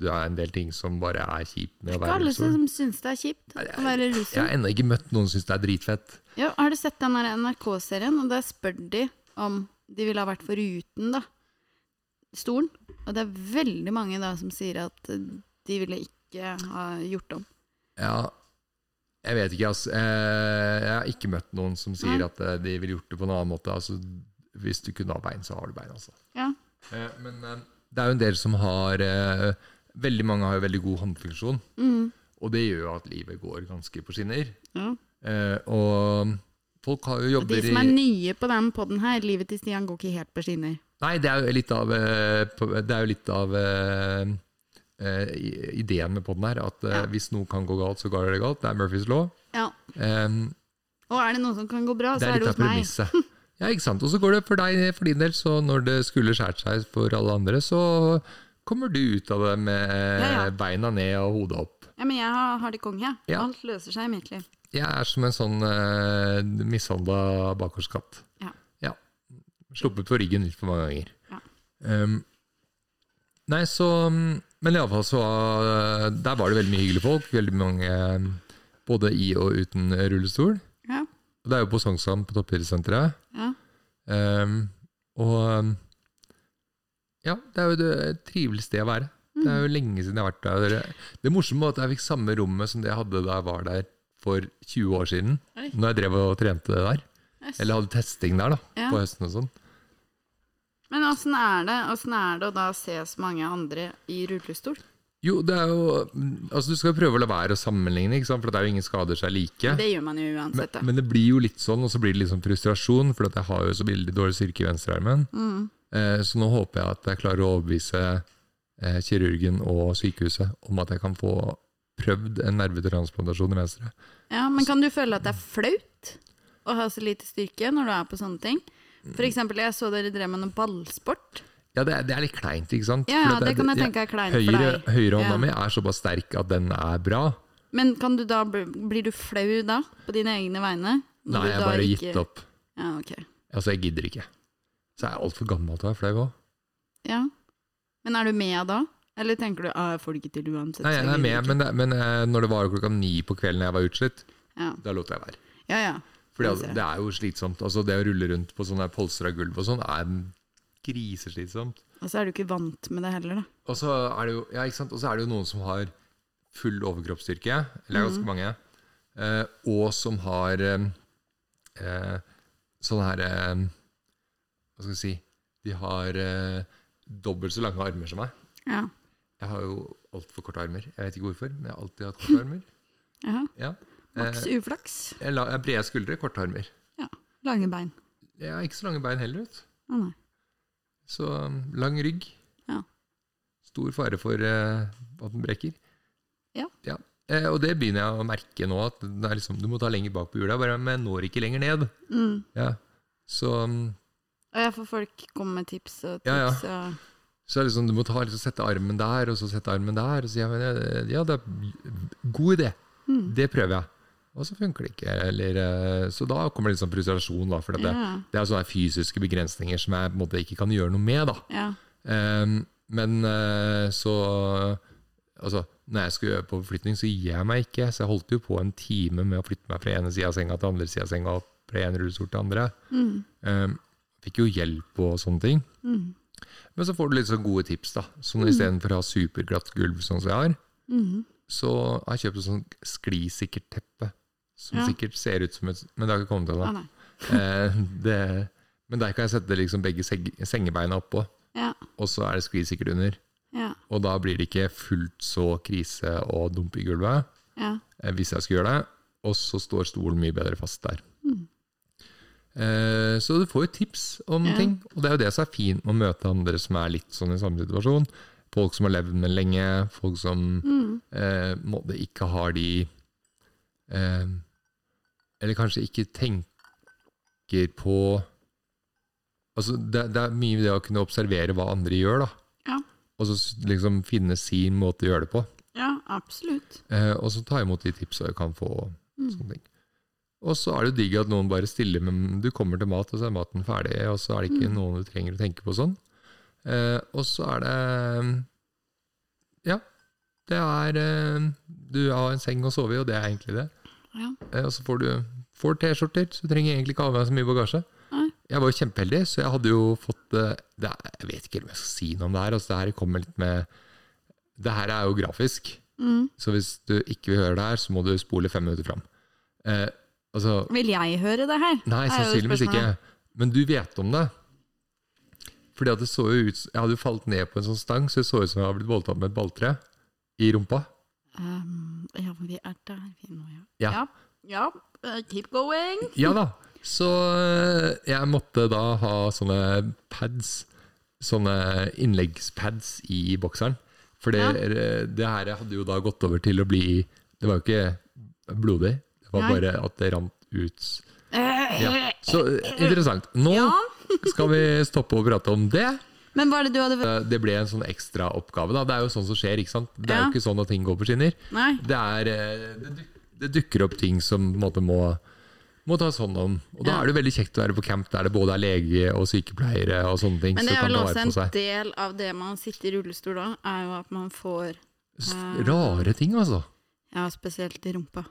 S1: det er en del ting som bare er kjipt med å
S2: Det
S1: være
S2: er
S1: i
S2: alle
S1: rullestol.
S2: som syns det er kjipt
S1: Nei, jeg-
S2: å være i
S1: Jeg
S2: rullestol.
S1: har ennå ikke møtt noen som syns det er dritfett.
S2: Ja, har du sett den der NRK-serien? Og der spør de om de ville ha vært foruten da, stolen. Og det er veldig mange da som sier at de ville ikke ha gjort om.
S1: Ja, jeg vet ikke, altså. Eh, Jeg har ikke møtt noen som sier
S2: Nei.
S1: at eh, de ville gjort det på en annen måte. Altså, hvis du kunne ha bein, så har du bein, altså.
S2: Ja.
S1: Eh, Men eh, det er jo en del som har eh, Veldig mange har jo veldig god håndfunksjon.
S2: Mm.
S1: Og det gjør jo at livet går ganske på skinner.
S2: Ja.
S1: Eh, Og folk har jo
S2: De
S1: jobber
S2: som er
S1: i
S2: nye på den podden her, livet til Stian går ikke helt på skinner.
S1: Nei, det er jo litt av, eh, på- det er jo litt av eh, eh, i- ideen med poden her. At eh,
S2: Ja.
S1: hvis noe kan gå galt, så går det galt. Det er Murphys law.
S2: Ja.
S1: Eh,
S2: Og er det noe som kan gå bra,
S1: Det
S2: så
S1: er
S2: er
S1: litt
S2: det
S1: av
S2: hos meg.
S1: premisset. [LAUGHS] Ja, ikke sant. Og så går det for deg for din del, så når det skulle skjært seg for alle andre, så kommer du ut av det med
S2: Ja, ja.
S1: beina ned og hodet opp.
S2: Ja, men jeg har, har det konge, jeg.
S1: Ja.
S2: Alt løser seg i mitt liv.
S1: Jeg er som en sånn eh, mishandla bakgårdskatt.
S2: Ja.
S1: Sluppet på ryggen litt for mange ganger.
S2: Ja.
S1: Um, nei, så mm, Men iallfall så eh, Der var det veldig mye hyggelige folk. Veldig mange eh, både i og uten rullestol.
S2: Ja,
S1: Og det er jo på Sognsvann, på toppidrettssenteret.
S2: ja.
S1: Ehm, og ehm, ja, det er jo det- et trivelig sted å være. Det er
S2: Mm.
S1: jo lenge siden jeg har vært der. Det morsomme var at jeg fikk samme rommet som det jeg hadde da jeg var der for 20 år siden.
S2: Oi.
S1: Når jeg drev og trente det der.
S2: Yes.
S1: Eller hadde testing der, da.
S2: Ja.
S1: På høsten og sånn.
S2: Men åssen er det Hvordan er det å da se så mange andre i rullestol?
S1: Jo, det er jo Altså, du skal prøve å la være å sammenligne, ikke sant? for det er jo ingen skader seg like.
S2: Det gjør man jo uansett, da.
S1: Men det blir jo litt sånn, og så blir det litt sånn frustrasjon, for at jeg har jo så veldig dårlig styrke i venstrearmen.
S2: Mm.
S1: Eh, så nå håper jeg at jeg klarer å overbevise eh, kirurgen og sykehuset om at jeg kan få prøvd en nervetransplantasjon i venstre.
S2: Ja, men kan du føle at det er flaut å ha så lite styrke når du er på sånne ting? For eksempel, jeg så dere drev med noe ballsport.
S1: Ja, det er, det er litt kleint, ikke sant?
S2: Ja,
S1: For at
S2: det kan jeg tenke er kleint for deg.
S1: høyre, Høyrehånda
S2: Ja.
S1: mi er såpass sterk at den er bra.
S2: Men kan du da, bli- blir du flau da, på dine egne vegne? Når
S1: Nei,
S2: du
S1: jeg har
S2: da
S1: bare
S2: ikke-
S1: gitt opp.
S2: Ja, ok.
S1: Altså, jeg gidder ikke. Så jeg er altfor gammel til å være flau òg.
S2: Ja. Men er du med da? Eller tenker du ah, jeg får det ikke til uansett?
S1: Nei,
S2: så
S1: jeg
S2: gidder
S1: er med,
S2: ikke».
S1: men, det, men eh, når det var klokka ni på kvelden jeg var utslitt,
S2: ja.
S1: da lot jeg være.
S2: ja, ja.
S1: Fordi
S2: Kan
S1: altså,
S2: se.
S1: det er jo slitsomt. Altså, det å rulle rundt på sånne her polster av gulv og sånn er griseslitsomt.
S2: Og så er du ikke vant med det heller, da.
S1: Og så er det jo, ja, ikke sant? Og så er det jo noen som har full overkroppsstyrke, eller
S2: Mhm.
S1: ganske mange, eh, og som har eh, eh, sånne her eh, Hva skal vi si De har eh, dobbelt så lange armer som meg.
S2: Ja.
S1: Jeg har jo altfor korte armer. Jeg vet ikke hvorfor, men jeg har alltid hatt korte
S2: [LAUGHS]
S1: armer.
S2: Jaha.
S1: Ja.
S2: Maks
S1: Eh,
S2: uflaks.
S1: jeg la- jeg har brede skuldre, korte armer.
S2: Ja. Lange bein.
S1: Jeg har ikke så lange bein heller, vet du.
S2: Å nei.
S1: Så um, lang rygg.
S2: Ja.
S1: Stor fare for eh, at den brekker.
S2: Ja.
S1: Eh, og det begynner jeg å merke nå, at den er liksom, du må ta lenger bak på hjula. Bare, men jeg når ikke lenger ned.
S2: Mm.
S1: Ja. Så, um,
S2: Og jeg får folk komme med tips og
S1: Ja, ja.
S2: tips og
S1: så er det sånn, du må ta, liksom, sette armen der, og så sette armen der. Og så sier jeg, men, eh, ja, det er god idé.
S2: Mm.
S1: Det prøver jeg. Og så funker det ikke. Eller, eh, så da kommer det litt sånn frustrasjon, da. For at det,
S2: Ja.
S1: det er sånne fysiske begrensninger som jeg på en måte ikke kan gjøre noe med, da.
S2: Ja.
S1: Ehm, men eh, så Altså, når jeg skulle gjøre på forflytning, så gir jeg meg ikke. Så jeg holdt jo på en time med å flytte meg fra ene sida av senga til andre sida av senga, og fra en rullestol til andre.
S2: Mm.
S1: Ehm, fikk jo hjelp og sånne ting. Men så får du litt sånn gode tips, da. Sånn
S2: Mm.
S1: istedenfor å ha superglatt gulv, sånn som jeg har, så har jeg kjøpt et sånn sklisikkert teppe. Som
S2: Ja.
S1: sikkert ser ut som et Men det har ikke kommet
S2: Å
S1: ennå.
S2: nei.
S1: Eh, det- men der kan jeg sette liksom begge seng- sengebeina oppå
S2: Ja.
S1: og så er det skvisikkert under.
S2: Ja.
S1: Og da blir det ikke fullt så krise å dumpe i gulvet,
S2: Ja.
S1: eh, hvis jeg skal gjøre det. Og så står stolen mye bedre fast der.
S2: Mm.
S1: Eh, så du får jo tips om
S2: Ja.
S1: ting, og det er jo det som er fint med å møte andre som er litt sånn i samme situasjon. Folk som har levd med lenge, folk som
S2: Mm.
S1: eh, måtte ikke har de eh, Eller kanskje ikke tenker på Altså, det, det er mye det å kunne observere hva andre gjør, da
S2: Ja.
S1: og så s- liksom finne sin måte å gjøre det på.
S2: ja, absolutt.
S1: Eh, og så ta imot de tipsa jeg kan få. og
S2: Mm.
S1: sånne ting. Og så er det digg at noen bare stiller med Du kommer til mat, og så er maten ferdig, og så er det
S2: Mm.
S1: ikke noen du trenger å tenke på sånn. Eh, og så er det Ja. Det er eh, Du har en seng å sove i, og det er egentlig det.
S2: Ja.
S1: Eh, og så får du får T-skjorter, så du trenger egentlig ikke ha med deg så mye bagasje.
S2: Nei.
S1: Jeg var jo kjempeheldig, så jeg hadde jo fått eh, det er, Jeg vet ikke helt om jeg skal si noe om det her. Altså, det her kommer litt med Det her er jo grafisk,
S2: Mm.
S1: så hvis du ikke vil høre det her, så må du spole fem minutter fram. Eh, altså
S2: Vil jeg høre det her?
S1: Nei,
S2: er jo
S1: sannsynligvis ikke.
S2: spørsmålet.
S1: Men du vet om det. Fordi at det så jo ut, s- Jeg hadde jo falt ned på en sånn stang, så det så ut som jeg hadde blitt voldtatt med et balltre i rumpa.
S2: Um, ja, men vi er der vi nå, ja.
S1: Ja.
S2: Ja, ja. uh, keep going.
S1: Ja da. Så øh, jeg måtte da ha sånne pads, sånne innleggspads i bokseren. For det, eh,
S2: Ja.
S1: det her hadde jo da gått over til å bli Det var jo ikke blodig, det var
S2: Nei.
S1: bare at det rant ut.
S2: Eh,
S1: Ja. Så øh, interessant. Nå
S2: Ja.
S1: [LAUGHS] skal vi stoppe å prate om det.
S2: Men hva er det du hadde
S1: Eh, Det ble en sånn ekstra oppgave da. Det er jo sånn som skjer, ikke sant? Det er
S2: Ja.
S1: jo ikke sånn at ting går på skinner.
S2: Nei.
S1: Det, er, eh, det, duk, det dukker opp ting som på en måte må, må tas hånd om. Og da
S2: Ja.
S1: er det veldig kjekt å være på camp der det både er lege og sykepleiere og sånne ting.
S2: Men det
S1: som
S2: er
S1: kan
S2: vel
S1: ta
S2: også
S1: vare
S2: en
S1: på seg.
S2: del av det man sitter i rullestol da, er jo at man får
S1: S- Rare ting, altså.
S2: Ja, spesielt i rumpa.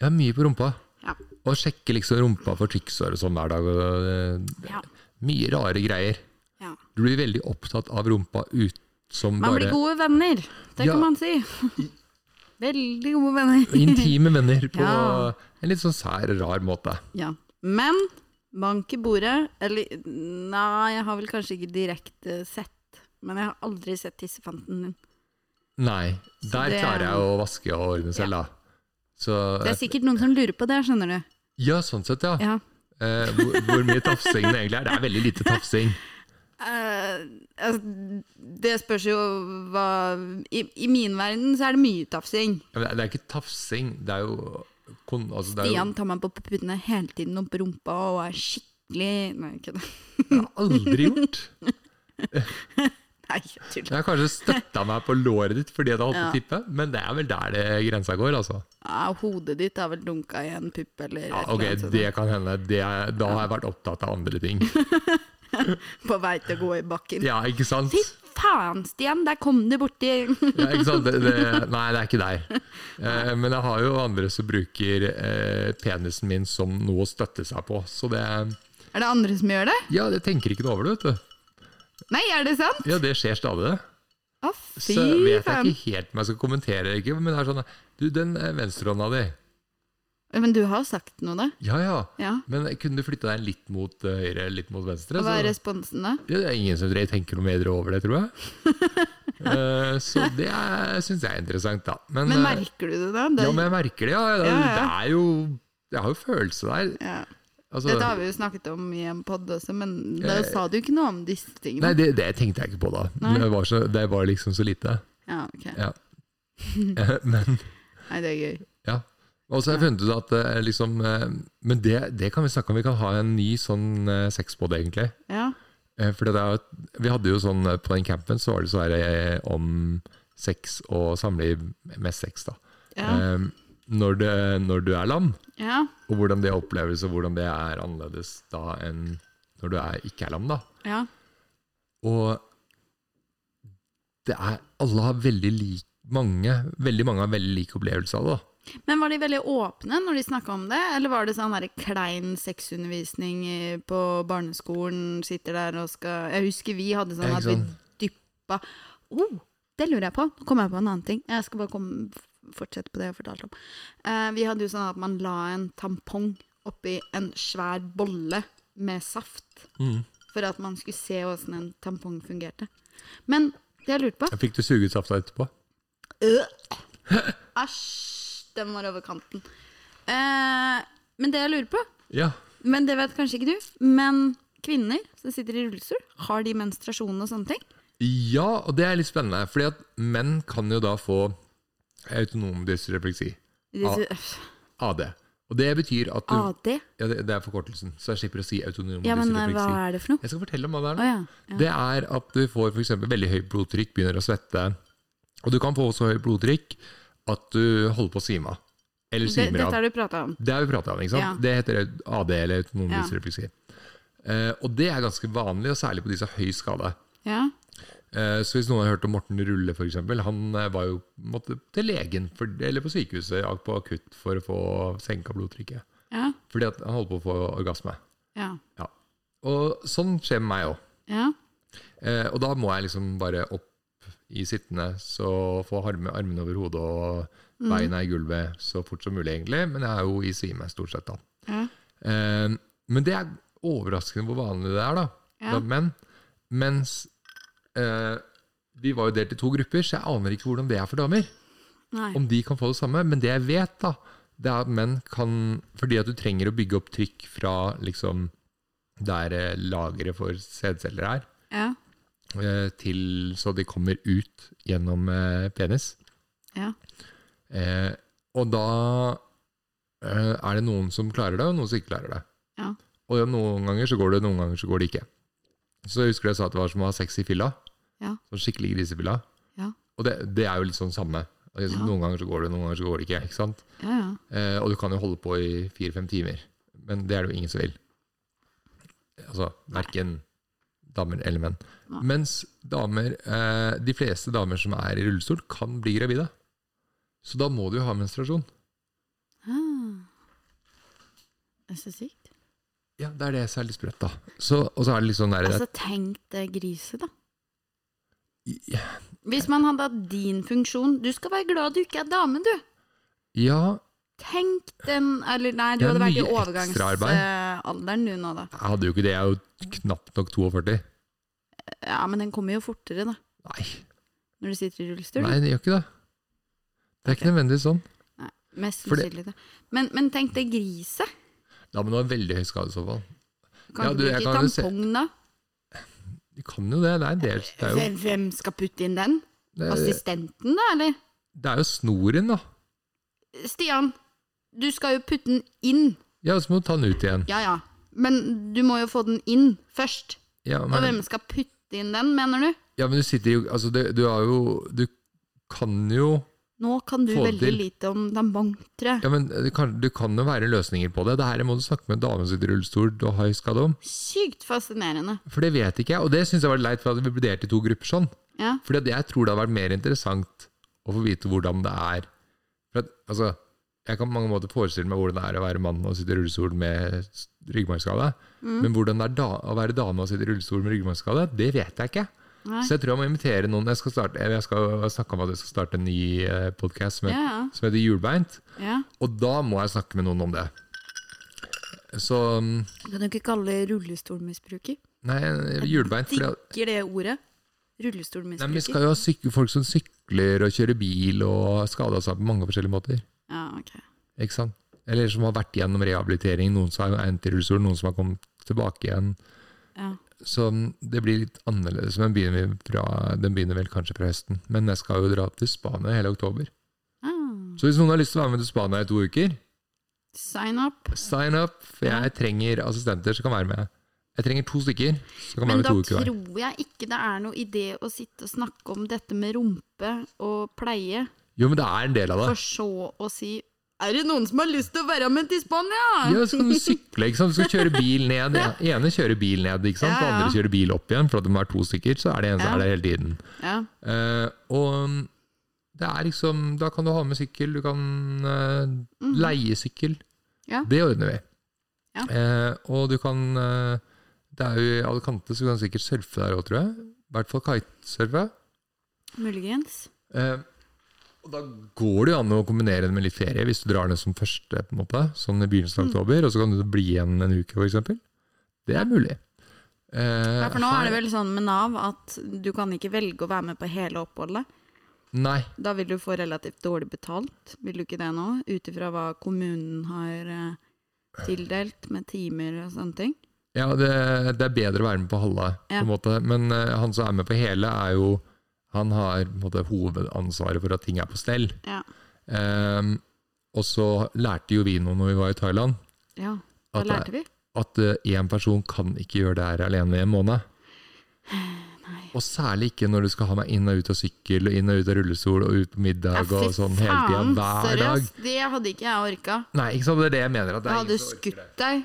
S1: Jeg har mye på rumpa.
S2: Ja.
S1: Og sjekker liksom rumpa for trykksår og sånn hver dag. Og, eh,
S2: Ja.
S1: Mye rare greier.
S2: ja.
S1: Du blir veldig opptatt av rumpa ut som
S2: Man
S1: bare
S2: blir gode venner, det
S1: Ja.
S2: kan man si. [LAUGHS] Veldig gode venner.
S1: intime venner på
S2: Ja.
S1: en litt sånn sær, rar måte.
S2: [LAUGHS] Ja. Men bank i bordet Eller nei, jeg har vel kanskje ikke direkte sett, men jeg har aldri sett tissefanten din.
S1: Nei,
S2: Så
S1: der
S2: det-
S1: klarer jeg å vaske og ordne selv, da. Så,
S2: Det er sikkert noen som lurer på det, skjønner du.
S1: ja, sånn sett, ja.
S2: Ja.
S1: Eh, hvor, hvor mye tafsing det egentlig er. Det er
S2: [LAUGHS]
S1: veldig lite tafsing.
S2: Eh, altså, det spørs jo hva I, I min verden så er det mye tafsing.
S1: Ja, men Det er- det er ikke tafsing, det er jo kon, altså det er jo,
S2: Stian tar meg på puppene hele tiden opp rumpa og er skikkelig Nei, kødda.
S1: Det har jeg aldri gjort.
S2: [LAUGHS] Nei, jeg tuller.
S1: Jeg har kanskje støtta meg på låret ditt fordi jeg hadde holdt på å
S2: Ja.
S1: tippe, men det er vel der det grensa går, altså.
S2: Ja, hodet ditt er vel dunka i en pupp eller
S1: Ja,
S2: et eller
S1: ok,
S2: annet sånt.
S1: det kan hende. Det er, da har jeg vært opptatt av andre ting.
S2: På vei til å gå i bakken.
S1: Ja, ikke sant?
S2: Fy faen, Stian, der kom du borti [LAUGHS]
S1: Ja, ikke sant? Det, det, nei, det er ikke der. Eh, men jeg har jo andre som bruker eh, penisen min som noe å støtte seg på. Så det
S2: Er det andre som gjør det?
S1: Ja, jeg tenker ikke noe over det, vet du.
S2: Nei, er det sant?
S1: Ja, det skjer stadig, det.
S2: Å,
S1: Så
S2: fy
S1: vet jeg
S2: faen.
S1: ikke helt om jeg skal kommentere eller ikke, men det er sånn Du, den eh, venstrehånda di.
S2: Men du har jo sagt noe, da.
S1: Ja ja,
S2: Ja.
S1: men kunne du flytta deg litt mot eh, høyre, litt mot venstre?
S2: Hva
S1: Så,
S2: er responsen da?
S1: ja, det er ingen som tenker noe mer over det, tror
S2: [LAUGHS]
S1: jeg. Eh, så det syns jeg er interessant, da. Men,
S2: Men
S1: eh,
S2: merker du det, da? Det,
S1: ja, men jeg merker det, ja. Det,
S2: Ja, ja.
S1: det er jo Jeg har jo følelse der.
S2: ja.
S1: Altså,
S2: Dette har vi jo snakket om i en pod også, men da sa du ikke noe om disse
S1: Eh, nei,
S2: tingene.
S1: det, det tenkte jeg ikke på da.
S2: Nei.
S1: Det var, så, det var liksom så lite.
S2: Ja, ok.
S1: Ja.
S2: Mm.
S1: Eh, men
S2: Nei, det er gøy.
S1: Ja. Og så har jeg funnet ut at eh, liksom eh, Men det, det kan vi snakke om. Vi kan ha en ny sånn eh, sexpod, egentlig.
S2: Ja.
S1: Eh, For det er, vi hadde jo sånn eh, på den campen, så var det så her eh, om sex og samliv. Mest sex, da.
S2: Ja.
S1: Eh, Når, det, når du er lam,
S2: ja.
S1: og hvordan det oppleves, og hvordan det er annerledes da enn når du er, ikke er lam, da.
S2: Ja.
S1: Og det er Alle har veldig lik mange, veldig mange har veldig lik opplevelse av det. da.
S2: Men var de veldig åpne når de snakka om det, eller var det sånn der klein sexundervisning i- på barneskolen, sitter der og skal Jeg husker vi hadde sånn
S1: Ja, ikke
S2: at vi dyppa oh, det lurer jeg på. Nå kommer jeg på en annen ting. Jeg skal bare komme, fortsette på det jeg fortalte om. Eh, vi hadde jo sånn at man la en tampong oppi en svær bolle med saft.
S1: Mhm.
S2: For at man skulle se åssen en tampong fungerte. Men det jeg lurte på
S1: Fikk du suget safta etterpå?
S2: Øh. Æsj, den var over kanten. Eh, men det jeg lurer på,
S1: Ja.
S2: men det vet kanskje ikke du, men kvinner som sitter i rullestol, har de menstruasjon og sånne ting?
S1: Ja, og det er litt spennende, fordi at menn kan jo da få autonom dysrefleksi,
S2: De,
S1: Ja.
S2: sier,
S1: AD. Og det betyr at Ah, du
S2: AD?
S1: ja, det, det er forkortelsen, så jeg slipper å si autonom
S2: Ja, men eh, hva
S1: dysrefleksi.
S2: er det for noe?
S1: Jeg skal fortelle om hva
S2: Å
S1: det er nå.
S2: ja. ja.
S1: Det er at du får f.eks. veldig høyt blodtrykk, begynner å svette, og du kan få så høyt blodtrykk at du holder på å svime av. Eller
S2: Det,
S1: svimer
S2: dette
S1: av.
S2: har du prata om.
S1: Det har vi prata om, ikke sant?
S2: Ja.
S1: Det heter AD, eller autonom
S2: Ja.
S1: dysrefleksi. Eh, og det er ganske vanlig, og særlig på de som har høy skade.
S2: Ja.
S1: Eh, Så hvis noen har hørt om Morten Rulle, for eksempel, han eh, var jo måtte, til legen for, eller på sykehuset ak- på akutt for å få senka blodtrykket.
S2: Ja.
S1: Fordi at han holdt på å få orgasme.
S2: Ja.
S1: Ja. Og sånn skjer med meg òg.
S2: ja.
S1: Og da må jeg liksom bare opp i sittende, så få arme, armene over hodet og
S2: Mm.
S1: beina i gulvet så fort som mulig, egentlig. Men jeg er jo i svime stort sett, da.
S2: ja.
S1: Eh, Men det er overraskende hvor vanlig det er, da.
S2: Ja.
S1: blant menn. Mens eh, vi var jo delt i to grupper, så jeg aner ikke hvordan det er for damer.
S2: Nei.
S1: Om de kan få det samme. Men det jeg vet, da, det er at menn kan Fordi at du trenger å bygge opp trykk fra liksom der eh, lageret for sædceller er,
S2: Ja.
S1: eh, til så de kommer ut gjennom eh, penis.
S2: Ja.
S1: Eh, og da eh, er det noen som klarer det, og noen som ikke klarer det.
S2: Ja.
S1: Og noen ganger så går det, noen ganger så går det ikke. Så jeg husker jeg sa at det var som å ha sex i fylla.
S2: Ja.
S1: Sånn skikkelig grisefylla.
S2: Ja.
S1: Og det, det er jo litt sånn samme. Altså,
S2: Ja.
S1: Noen ganger så går det, noen ganger så går det ikke. ikke sant?
S2: Ja, ja.
S1: Eh, og du kan jo holde på i fire-fem timer. Men det er det jo ingen som vil. Altså verken damer eller menn.
S2: Nei.
S1: Mens damer, eh, de fleste damer som er i rullestol, kan bli gravide. Så da må du jo ha menstruasjon.
S2: Ah. Det er så sykt.
S1: Ja, det er det som er litt sprøtt, da. Så, og så er det litt sånn der
S2: Altså, tenk det griset, da.
S1: ja,
S2: Hvis man hadde hatt din funksjon Du skal være glad du ikke er dame, du!
S1: ja,
S2: Tenk den Eller nei, du
S1: Det er
S2: hadde vært i
S1: mye ekstraarbeid.
S2: overgangsalderen du nå, da.
S1: jeg hadde jo ikke det. Jeg er jo knapt nok 42.
S2: Ja, men den kommer jo fortere, da.
S1: Nei,
S2: Når du sitter i rullestol.
S1: nei det gjør ikke det. Det er ikke nødvendigvis sånn.
S2: Mest
S1: For det-
S2: sannsynlig det. Men, men tenk det griset.
S1: Da må du ha veldig høy skade i så fall.
S2: Du kan
S1: Ja, du,
S2: ikke
S1: jeg
S2: bruke
S1: kan jo se-
S2: tampong, da.
S1: Du kan jo det. Det er en del Det er jo, Eh.
S2: Hvem, hvem skal putte inn den?
S1: det,
S2: Assistenten, da, eller?
S1: det er jo snoren, da.
S2: Stian, du skal jo putte den inn.
S1: Ja, og så må du ta den ut igjen.
S2: Ja ja, men du må jo få den inn først.
S1: Ja,
S2: Og
S1: men,
S2: hvem skal putte inn den, mener du?
S1: ja, men du sitter jo Altså, det, du har jo Du kan jo
S2: Nå kan du
S1: Få det
S2: veldig
S1: til.
S2: lite om tampong, tror jeg.
S1: Ja, men det kan, du kan jo være løsninger på det. Det her må du snakke med en dame som sitter i rullestol og har høy skade om.
S2: Sykt fascinerende.
S1: For det vet ikke jeg. Og det syns jeg var leit, for at vi ble delt i to grupper sånn.
S2: Ja,
S1: Fordi at jeg tror det hadde vært mer interessant å få vite hvordan det er. For at, altså, jeg kan på mange måter forestille meg hvordan det er å være mann og sitte i rullestol med s- ryggmargskade.
S2: Mm.
S1: Men hvordan det er da, å være dame og sitte i rullestol med ryggmargskade, det vet jeg ikke.
S2: Nei.
S1: Så jeg tror jeg må invitere noen. Jeg skal, starte, jeg skal snakke om at jeg skal starte en ny podkast som, het-
S2: ja, ja.
S1: som heter Hjulbeint.
S2: ja.
S1: Og da må jeg snakke med noen om det. Så mm,
S2: Kan du ikke kalle det rullestolmisbruker?
S1: Nei, hjulbeint fordi at-
S2: Digger det ordet.
S1: Nei, men Vi
S2: Rullestolmisbruker.
S1: skal jo ha syk folk som sykler og kjører bil og skada seg på mange forskjellige måter.
S2: Ja, ok.
S1: Ikke sant? Eller som har vært gjennom rehabilitering. Noen som har endt i rullestol, noen som har kommet tilbake igjen.
S2: Ja.
S1: Så mm, det blir litt annerledes. Men begynner vi fra, den begynner vel kanskje fra høsten. Men jeg skal jo dra til Spania hele oktober.
S2: Ah.
S1: Så hvis noen har lyst til å være med til Spania i to uker,
S2: Sign up.
S1: sign up. For jeg trenger assistenter som kan være med. Jeg trenger to stykker som kan
S2: Men
S1: være med
S2: da
S1: to uker hver.
S2: tror jeg ikke det er noe idé å sitte og snakke om dette med rumpe og pleie,
S1: Jo, men det er en del av
S2: for
S1: det.
S2: så å si Er det noen som har lyst til å være med til Spania?
S1: Ja, så kan du sykle, ikke sant? Du skal kjøre bil ned. Den ene kjører bil ned, ikke sant?
S2: Ja,
S1: Den
S2: ja.
S1: andre kjører bil opp igjen, for at de er to stykker, så er det en som
S2: Ja.
S1: er der hele tiden.
S2: [LAUGHS] Ja.
S1: Eh, og det er liksom, da kan du ha med sykkel, du kan eh,
S2: Mm.
S1: leie sykkel.
S2: Mhm. Ja.
S1: Det ordner vi.
S2: Ja.
S1: Eh, og du kan, eh, det er jo i Alicante, så du kan sikkert surfe der også, tror jeg. I hvert fall kitesurfe.
S2: Muligens.
S1: Eh, og da går det jo an å kombinere det med litt ferie, hvis du drar ned som første, på en måte, sånn i begynnelsen av
S2: Mm.
S1: oktober, og så kan du bli igjen en uke, for eksempel. Det er mulig. Eh,
S2: Ja, for nå er det
S1: her-
S2: vel sånn med Nav at du kan ikke velge å være med på hele oppholdet.
S1: Nei,
S2: Da vil du få relativt dårlig betalt, vil du ikke det nå? Ut ifra hva kommunen har eh, tildelt med timer og sånne ting.
S1: ja, det, det er bedre å være med på halve,
S2: Ja.
S1: på en måte. Men eh, han som er med på hele, er jo Han har på en måte, hovedansvaret for at ting er på stell.
S2: Ja.
S1: Eh, og så lærte jo vi noe når vi var i Thailand,
S2: ja. Hva
S1: At det-
S2: lærte vi?
S1: at én person kan ikke gjøre det her alene i en måned.
S2: [SIGHS] Nei.
S1: Og særlig ikke når du skal ha meg inn og ut av sykkel, og inn og ut av rullestol, og ut på middag og sånn hele tida, hver dag.
S2: seriøst. Det hadde ikke jeg orka.
S1: Nei, ikke sant, det er det jeg mener. At
S2: Jeg
S1: det er
S2: hadde
S1: ingen som orker det.
S2: skutt deg.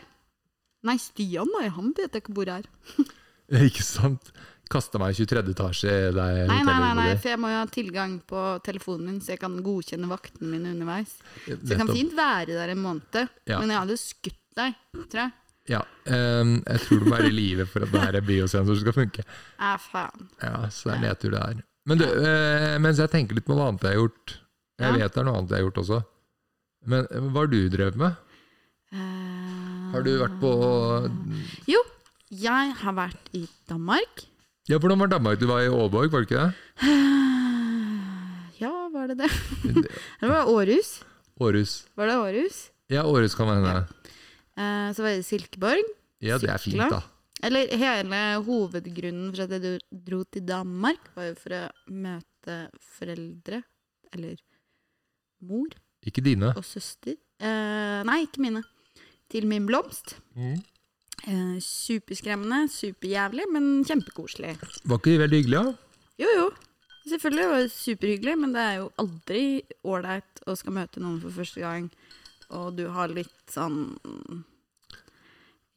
S2: Nei, Stian, nei, han vet jeg ikke hvor er.
S1: [LAUGHS] Ikke sant? Kasta meg i 23. etasje der
S2: Nei, nei, nei, nei,
S1: hotellet
S2: for jeg må jo ha tilgang på telefonen min, så jeg kan godkjenne vaktene mine underveis.
S1: bodde.
S2: Så jeg kan
S1: Nettopp.
S2: fint være der en måned,
S1: Ja.
S2: men jeg hadde skutt deg, tror jeg.
S1: Ja, ehm, jeg tror du må være i live for at det her er biosensor skal funke.
S2: Æ, faen.
S1: Ja, så det er nedtur det her. Men du, eh, mens jeg tenker litt på hva annet jeg har gjort
S2: Ja.
S1: Jeg vet det er noe annet jeg har gjort også. Men eh, hva har du drevet med?
S2: Eh,
S1: Har du vært på
S2: Jo, jeg har vært i Danmark. [SIGHS]
S1: Ja, Hvordan var Danmark? Du var i Aalborg, var du ikke det?
S2: Ja, var det det? det var Århus.
S1: Århus.
S2: Var det Århus?
S1: Ja, Århus kan hende.
S2: Eh, så var det Silkeborg.
S1: Ja, det er fint,
S2: Sykla.
S1: da.
S2: Eller hele hovedgrunnen for at jeg dro- dro til Danmark, var jo for å møte foreldre, eller mor
S1: Ikke dine.
S2: og søster. Eh, nei, ikke mine. Til min blomst. Eh, superskremmende, superjævlig, men kjempekoselig.
S1: Var ikke de veldig hyggelige? da?
S2: Jo, jo. Selvfølgelig var det superhyggelig, men det er jo aldri ålreit å skal møte noen for første gang, og du har litt sånn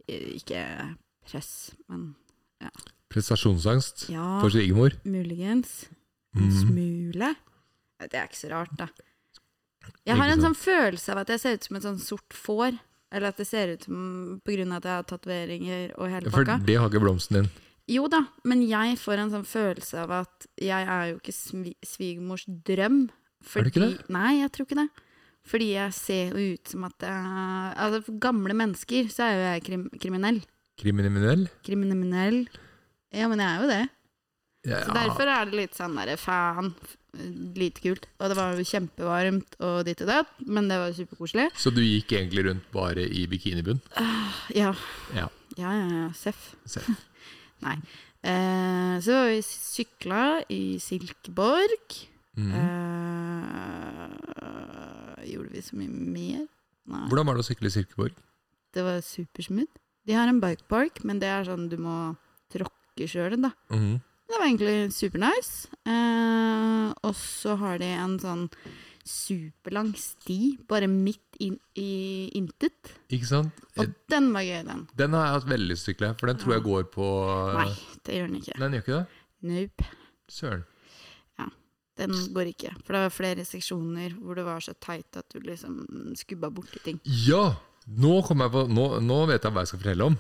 S2: eh, Ikke press, men
S1: Prestasjonsangst
S2: ja,
S1: for svigermor.
S2: muligens. En
S1: Mm.
S2: smule. Ja, Det er ikke så rart, da. Jeg har
S1: Ikke
S2: en sånn følelse av at jeg ser ut som et sånn sort får. Eller at det ser ut som på grunn av at jeg har tatoveringer og hele
S1: For
S2: pakka.
S1: det har ikke blomsten din.
S2: Jo da, men jeg får en sånn følelse av at jeg er jo ikke svi svigermors drøm.
S1: Er du ikke
S2: fordi- Nei, jeg tror ikke det. Fordi jeg ser jo ut som at jeg Altså, for gamle mennesker så er jo jeg krim kriminell.
S1: Kriminell?
S2: Kriminell. Ja, men jeg er jo det.
S1: Ja.
S2: Så derfor er det litt sånn derre faen, lite kult. Og det var jo kjempevarmt og ditt og datt, men det var jo superkoselig.
S1: Så du gikk egentlig rundt bare i bikinibunn?
S2: Ja.
S1: Ja.
S2: ja, ja, ja, Seff.
S1: Seff.
S2: [LAUGHS] Nei. Eh, så var vi sykla i Silkeborg.
S1: Mhm.
S2: Eh, gjorde vi så mye mer? Nei.
S1: Hvordan var det å sykle i Silkeborg?
S2: Det var supersmooth. De har en bikepark, men det er sånn du må tråkke sjøl, da.
S1: Mhm.
S2: Det var egentlig supernice. Eh, og så har de en sånn superlang sti, bare midt inn i intet.
S1: Ikke sant?
S2: Og den var gøy, den.
S1: Den har jeg hatt veldig lyst til å sykle, for den tror jeg går på
S2: Nei, det gjør den ikke.
S1: Nei, den gjør ikke det?
S2: Nope.
S1: Søren.
S2: Den går ikke. For det var flere seksjoner hvor det var så teit at du liksom skubba borti ting.
S1: Ja! Nå, kom jeg på, nå, nå vet jeg hva jeg skal fortelle om,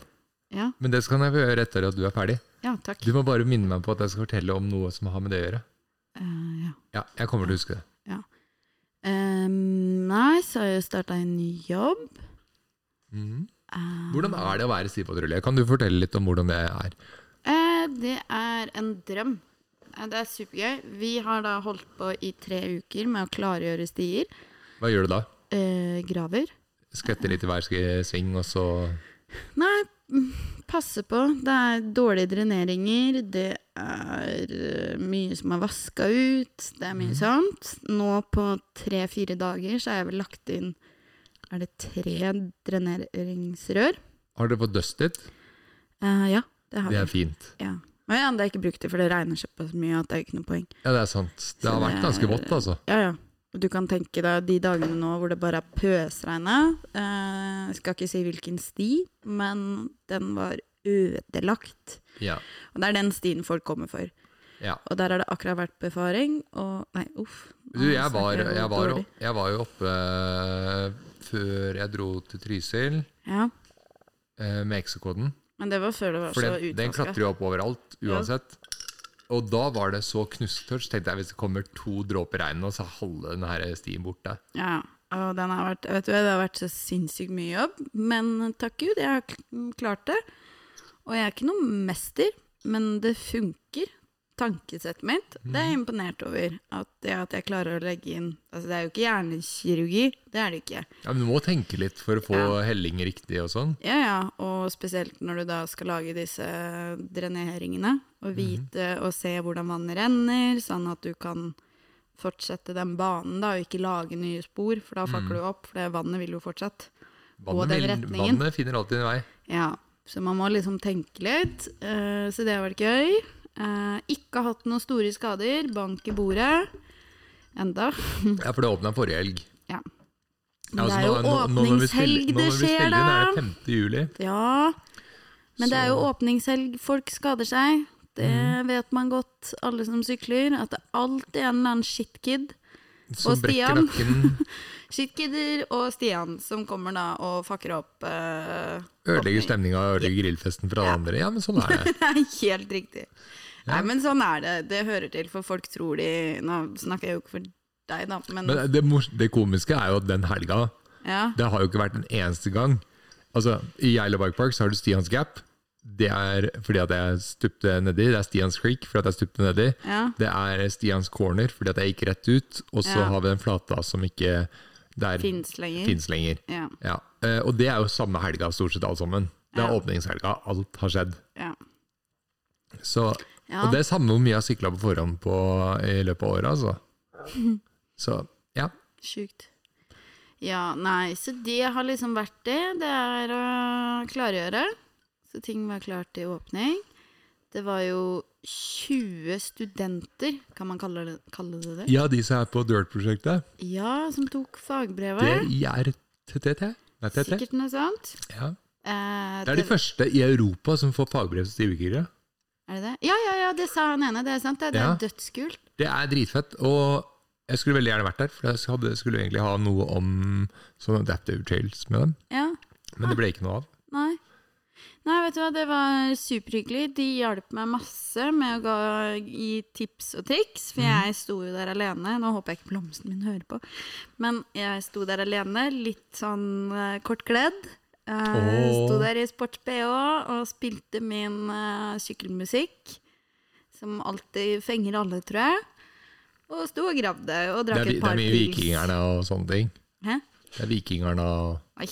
S2: Ja,
S1: men det skal jeg få gjøre etter at du er ferdig.
S2: ja takk.
S1: Du må bare minne meg på at jeg skal fortelle om noe som har med det å gjøre.
S2: Eh, ja.
S1: Ja, jeg kommer til å huske det.
S2: Eh, nei, så har jeg starta en ny jobb.
S1: Mhm.
S2: Eh,
S1: Hvordan er det å være stivpatrulje? Kan du fortelle litt om hvordan det er?
S2: Eh, det er en drøm. Eh, Det er supergøy. Vi har da holdt på i tre uker med å klargjøre stier.
S1: Hva gjør du da?
S2: Eh, graver.
S1: Skvetter litt i hver sk- sving, og så
S2: Nei, mm, passe på. Det er dårlige dreneringer. Det er eh, mye som er vaska ut. Det er mye
S1: Mhm.
S2: sånt. Nå på tre-fire dager så har jeg vel lagt inn Er det tre dreneringsrør?
S1: Har dere fått dustet?
S2: Eh, ja, det har
S1: Det
S2: vi.
S1: er fint.
S2: Ja. Men ja, det er ikke brukt til, for det regner såpass mye at det er ikke noe poeng.
S1: Ja, det er sant. Det har
S2: Så
S1: vært
S2: det
S1: ganske
S2: er-
S1: vått, altså.
S2: Ja, ja. Og Du kan tenke deg de dagene nå hvor det bare er pøsregna. Eh, skal ikke si hvilken sti, men den var ødelagt.
S1: Ja.
S2: Og det er den stien folk kommer for.
S1: ja.
S2: Og der har det akkurat vært befaring, og Nei, uff.
S1: Du, jeg var,
S2: snakker
S1: jeg, var,
S2: dårlig.
S1: jeg var jo oppe eh, før jeg dro til Trysil
S2: Ja,
S1: eh, med eksekoden.
S2: men det var før det var
S1: For
S2: så
S1: den, den
S2: utvaska.
S1: klatrer jo opp overalt,
S2: Ja.
S1: uansett. Og da var det så knusktørt, så tenkte jeg hvis det kommer to dråper regn nå, så er halve den her stien borte.
S2: Ja. Og den har vært, vet du, hva, det har vært så sinnssykt mye jobb, men takk Gud, jeg har k- klart det. Og jeg er ikke noen mester, men det funker. Tankesettet mitt, det
S1: Mhm.
S2: er jeg imponert over. At, det at jeg klarer å legge inn Altså, det er jo ikke hjernekirurgi, det er det ikke.
S1: Ja, men du må tenke litt for å få
S2: Ja.
S1: helling riktig og sånn.
S2: Ja, ja, og spesielt når du da skal lage disse dreneringene,
S1: Mhm.
S2: og vite og se hvordan vannet renner, sånn at du kan fortsette den banen da, og ikke lage nye spor, for da
S1: Mhm.
S2: fucker du opp, for det vannet vil jo fortsatt. Og
S1: Vannet,
S2: den
S1: vil-
S2: retningen.
S1: vannet finner alltid en vei.
S2: Ja, så man må liksom tenke litt, eh, så det har vært gøy. Eh, ikke hatt noen store skader, bank i bordet, enda.
S1: Ja, for det åpna forrige helg.
S2: Ja.
S1: Ja,
S2: det
S1: altså,
S2: er jo
S1: nå- nå- nå når vi spiller-
S2: åpningshelg
S1: nå
S2: det
S1: når vi
S2: skjer
S1: spiller inn,
S2: da.
S1: er det 5. juli.
S2: Ja, men det er jo
S1: Så- Mhm.
S2: åpningshelg, folk skader seg. Det vet man godt, alle som sykler, at det alltid er en eller annen shitkid.
S1: Som
S2: Og
S1: brekker
S2: Stian.
S1: nakken,
S2: Shitkidder og Stian som kommer da og fucker opp. eh, [LAUGHS]
S1: ødelegger
S2: åpning.
S1: stemninga og ødelegger grillfesten for alle andre. Ja, men sånn er det.
S2: Det er helt riktig. Nei, men sånn er det. Det hører til, for folk tror de Nå snakker jeg jo ikke for deg, da, men,
S1: Men det, mors- det komiske er jo at den helga,
S2: ja.
S1: det har jo ikke vært en eneste gang. Altså, I Geilo Bike Park så har du Stians Gap. Det er fordi at jeg stupte nedi. Det er Stians Creek fordi at jeg stupte nedi.
S2: Ja.
S1: Det er Stians Corner fordi at jeg gikk rett ut. Og så
S2: Ja.
S1: har vi den flata som ikke der
S2: Fins lenger.
S1: fins lenger.
S2: Ja.
S1: Ja. Eh, Og det er jo samme helga, stort sett alt sammen. Det er
S2: Ja.
S1: åpningshelga. Alt har skjedd.
S2: Ja.
S1: Så,
S2: ja.
S1: Og det er samme hvor mye jeg har sykla på forhånd på i løpet av året,
S2: [LAUGHS]
S1: altså. Så ja.
S2: Sjukt. Ja, nei, så det har liksom vært det. Det er å klargjøre. Så ting var klart i åpning. Det var jo 20 studenter, kan man kalle det kalle det? det?
S1: Ja, de som er på Dirt-prosjektet,
S2: Ja, som tok
S1: det
S2: fagbrevet.
S1: er TTT. Nei, TT.
S2: Sikkert noe sånt.
S1: Ja.
S2: Eh,
S1: Det er de første i Europa som får fagbrev som stivbygger.
S2: er det det? Ja, ja, ja, det sa han ene. Det er sant. Det, det
S1: Ja.
S2: er dødskult.
S1: Det er dritfett, og jeg skulle veldig gjerne vært der, for jeg hadde, skulle egentlig ha noe om sånne adaptive trails med dem,
S2: Ja.
S1: men det ble ikke noe av.
S2: Nei. Nei, vet du hva, det var superhyggelig. De hjalp meg masse med å gå, gi tips og triks,
S1: Mhm.
S2: for jeg sto jo der alene. Nå håper jeg ikke blomsten min hører på, men jeg sto der alene, litt sånn eh, kortkledd. Eh,
S1: Åh.
S2: Sto der i sports-BH og spilte min eh, sykkelmusikk, som alltid fenger alle, tror jeg. Og sto og gravde og
S1: Det
S2: drakk
S1: er, vi-
S2: et
S1: det
S2: par
S1: er mye vikingerne og sånne ting.
S2: Hæ?
S1: Det er vikingerne og
S2: Oi,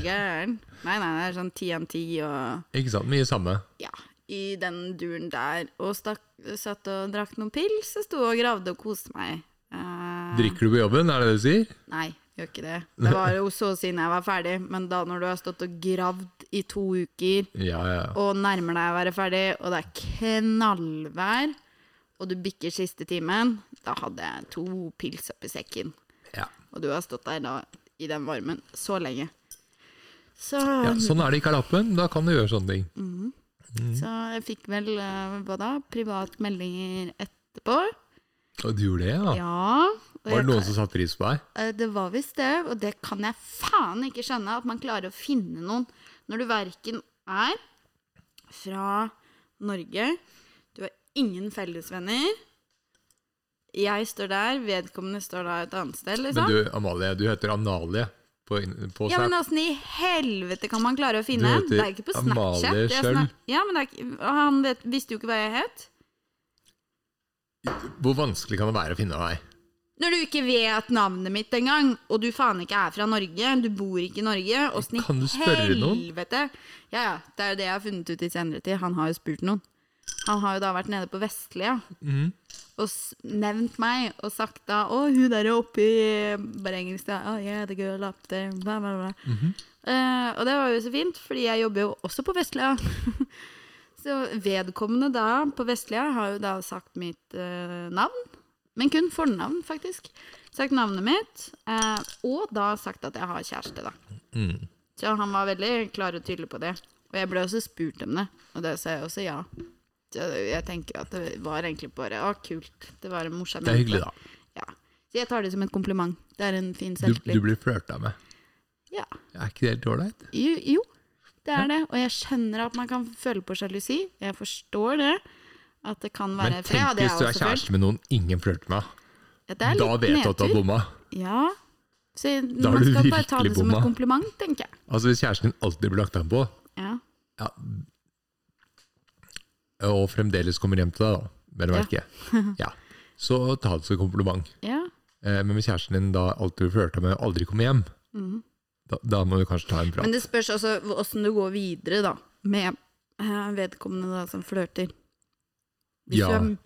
S2: gæren. Nei, nei, det er sånn TNT og
S1: Ikke sant? Mye samme.
S2: ja, i den duren der, og stakk, satt og drakk noen pils, og sto og gravde og koste meg. Eh,
S1: Drikker du på jobben, er det det du sier?
S2: Nei, gjør ikke det. Det var jo så siden jeg var ferdig, men da når du har stått og gravd i to uker,
S1: Ja, ja. ja.
S2: og nærmer deg å være ferdig, og det er knallvær, og du bikker siste timen, da hadde jeg to pils oppi sekken.
S1: ja.
S2: Og du har stått der da, i den varmen, så lenge. Så,
S1: ja sånn er det ikke er lappen, da kan du gjøre sånne ting.
S2: Mm. så jeg fikk vel, eh, hva da, privatmeldinger etterpå.
S1: Og du gjorde det, ja?
S2: Ja. Og
S1: Var det
S2: jeg,
S1: noen som satte pris på deg?
S2: eh, det var visst det, og det kan jeg faen ikke skjønne, at man klarer å finne noen når du verken er fra Norge, du har ingen fellesvenner, jeg står der, vedkommende står da et annet sted,
S1: Men
S2: liksom.
S1: du, Amalie, du heter Analie på, in- på
S2: Ja,
S1: Snap.
S2: men åssen i helvete kan man klare å finne
S1: Du
S2: en? Det er
S1: heter
S2: ikke på
S1: Amalie
S2: Snapchat. det er
S1: Schjøll.
S2: snak- Ja, men det er ikke, han vet, visste jo ikke hva jeg het.
S1: Hvor vanskelig kan det være å finne deg?
S2: Når du ikke vet navnet mitt engang, og du faen ikke er fra Norge, du bor ikke i Norge åssen i
S1: Kan du spørre noen?
S2: Helvete. Ja, ja. Det er jo det jeg har funnet ut i senere tid. Han har jo spurt noen. Han har jo da vært nede på Vestlia
S1: Mhm.
S2: og s- nevnt meg og sagt da Å, hun der oppi Bare engelsk, da. Oh, yeah, the girl up there. Bla, bla, bla.
S1: Mhm.
S2: Eh, og det var jo så fint, fordi jeg jobber jo også på Vestlia. så vedkommende da på Vestlia har jo da sagt mitt eh, navn. Men kun fornavn, faktisk. Sagt navnet mitt, eh, og da sagt at jeg har kjæreste, da.
S1: Mm.
S2: Så han var veldig klar og tydelig på det. Og jeg ble også spurt om det, og det sa jeg også ja. Så jeg tenker at det var egentlig bare Å, kult. Det var en morsom
S1: Det er hyggelig, da.
S2: Ja. Så jeg tar det som et kompliment. Det er en fin
S1: Du, du
S2: selvtillit.
S1: blir flørta med.
S2: Ja.
S1: Er ikke det helt ålreit?
S2: Jo, jo, det er det. Og jeg skjønner at man kan føle på sjalusi. Jeg forstår det. At det kan
S1: Men
S2: være
S1: tenk
S2: Ja, det
S1: hvis du
S2: jeg
S1: er
S2: også følt.
S1: kjæreste med noen ingen flørter med.
S2: Ja, det er
S1: Da
S2: litt
S1: vet du at du har
S2: nedtur.
S1: bomma.
S2: Ja. Så
S1: har
S2: man
S1: du
S2: skal bare ta
S1: virkelig
S2: det som
S1: bomma.
S2: en kompliment, tenker jeg.
S1: Altså Hvis kjæresten din alltid blir lagt an på,
S2: Ja.
S1: ja, og fremdeles kommer hjem til deg, da, vel å
S2: [LAUGHS]
S1: merke, ja. så ta det som kompliment.
S2: ja.
S1: Eh, Men hvis kjæresten din da alltid blir flørta med og aldri kommer hjem, da, da må du kanskje ta en prat.
S2: Mhm. Men det spørs også åssen du går videre, da. Med eh, vedkommende da, som flørter. Hvis
S1: Ja.
S2: du er- sånn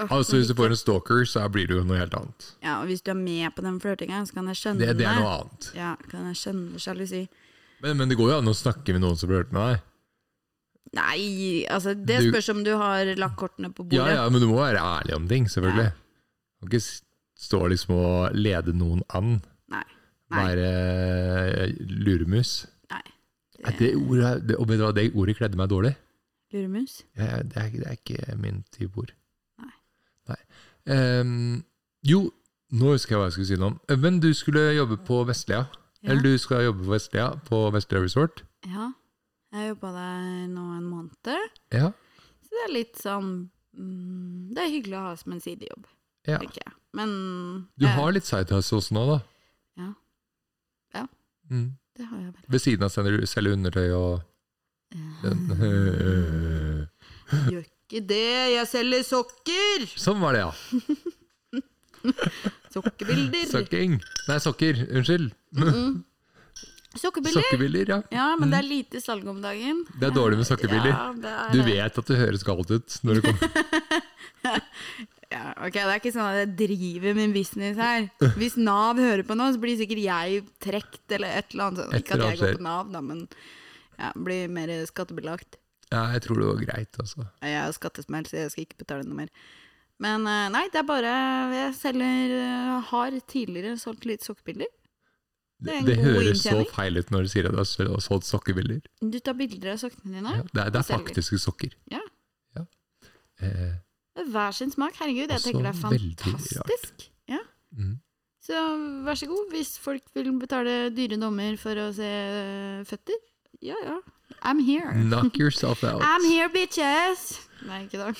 S2: Åh,
S1: Altså
S2: men
S1: Hvis du får en stalker, så blir det jo noe helt annet.
S2: Ja, og hvis du er med på den flørtinga, så kan jeg skjønne
S1: Det, det er noe annet.
S2: Ja, kan jeg skjønne sjalusi.
S1: Men, men det går jo an å snakke med noen som flørter med deg.
S2: Nei, altså det
S1: Du-
S2: spørs om du har lagt kortene på
S1: Ja,
S2: bordet.
S1: ja, men du må være ærlig om ting, selvfølgelig. Du kan ikke s- stå liksom og lede noen an.
S2: Nei. Nei.
S1: Være luremus.
S2: Nei.
S1: Nei,
S2: Eh,
S1: Det ordet, er- det, og vet du hva, det ordet kledde meg dårlig.
S2: Luremus?
S1: Jeg, det, er, det er ikke min type ord.
S2: Nei.
S1: Nei. Ehm, jo, nå husker jeg hva jeg skulle si noe om. Eh, Men du skulle jobbe på Vestlia.
S2: Ja.
S1: Eller du skal jobbe på Vestlia, på Vestlia Resort.
S2: Ja. Jeg jobba der nå en måned,
S1: Ja.
S2: så det er litt sånn mm, Det er hyggelig å ha som en sidejobb,
S1: ja.
S2: tenker jeg. Men eh,
S1: Du
S2: jeg-
S1: har litt sidehustle også nå, da.
S2: Ja. Ja.
S1: Mm.
S2: Det har jeg vel.
S1: Ved siden av selger du- selger undertøy og
S2: Ja.
S1: Den,
S2: Gjør ikke det, jeg selger sokker!
S1: [LAUGHS] sånn var det, ja.
S2: Sokkebilder.
S1: Sokking. Nei, sokker. Unnskyld.
S2: Sokkebilder?
S1: Sokkebilder, ja.
S2: Ja, men det er lite salg om dagen.
S1: Det er dårlig med Mm. sokkebilder.
S2: Ja, det er
S1: Du
S2: det.
S1: vet at du høres galt ut når du kommer. [LAUGHS]
S2: Ja, ok, Det er ikke sånn at jeg driver min business
S1: [LAUGHS]
S2: her. Hvis Nav hører på nå, så blir sikkert jeg trekt eller et eller annet. sånt.
S1: Et
S2: Ikke at
S1: eller
S2: jeg går
S1: annet
S2: på Nav, da, men ja, blir mer skattebelagt.
S1: Ja, jeg tror det var greit, altså.
S2: Jeg er jo skattesmell, så jeg skal ikke betale noe mer. Men eh, nei, det er bare Jeg selger eh, Har tidligere solgt litt sokkebilder. Det er
S1: Det,
S2: en
S1: det
S2: god
S1: høres så
S2: inntjening.
S1: feil ut når du sier at du har sol- solgt sokkebilder.
S2: Du tar bilder av sokkene dine.
S1: Ja, det, er, det
S2: og
S1: er
S2: selger.
S1: faktiske sokker.
S2: Ja.
S1: Ja. Eh,
S2: Det er Hver sin smak. Herregud, jeg
S1: Også
S2: tenker det er
S1: veldig
S2: fantastisk. Ja.
S1: Mhm.
S2: Så vær så god, hvis folk vil betale dyre dommer for å se eh, føtter. Ja ja. I'm here.
S1: knock yourself out.
S2: I'm here, bitches! Nei, ikke da.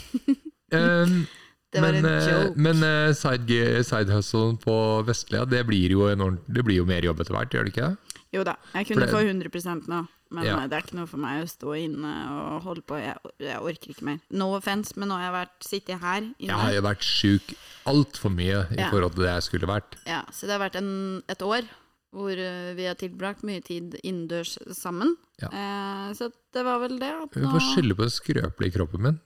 S1: Um,
S2: Det var en
S1: men, eh,
S2: joke.
S1: Men eh, side, sidehustlen på Vestlia, det blir, jo en ordent- det blir jo mer jobb etter hvert, gjør det ikke det?
S2: Jo da, jeg kunne
S1: det-
S2: få 100 nå, men
S1: Ja.
S2: eh, det er ikke noe for meg å stå inne og holde på. Jeg, jeg orker ikke mer. No offense, men nå har jeg vært, sittet her inne.
S1: Jeg har jo vært sjuk altfor mye i
S2: Ja.
S1: forhold til det jeg skulle vært.
S2: Ja, så det har vært en, et år hvor eh, vi har tilbrakt mye tid innendørs sammen.
S1: Ja.
S2: Eh, så det var vel det. At
S1: Vi
S2: nå,
S1: får skylde på den skrøpelige kroppen min.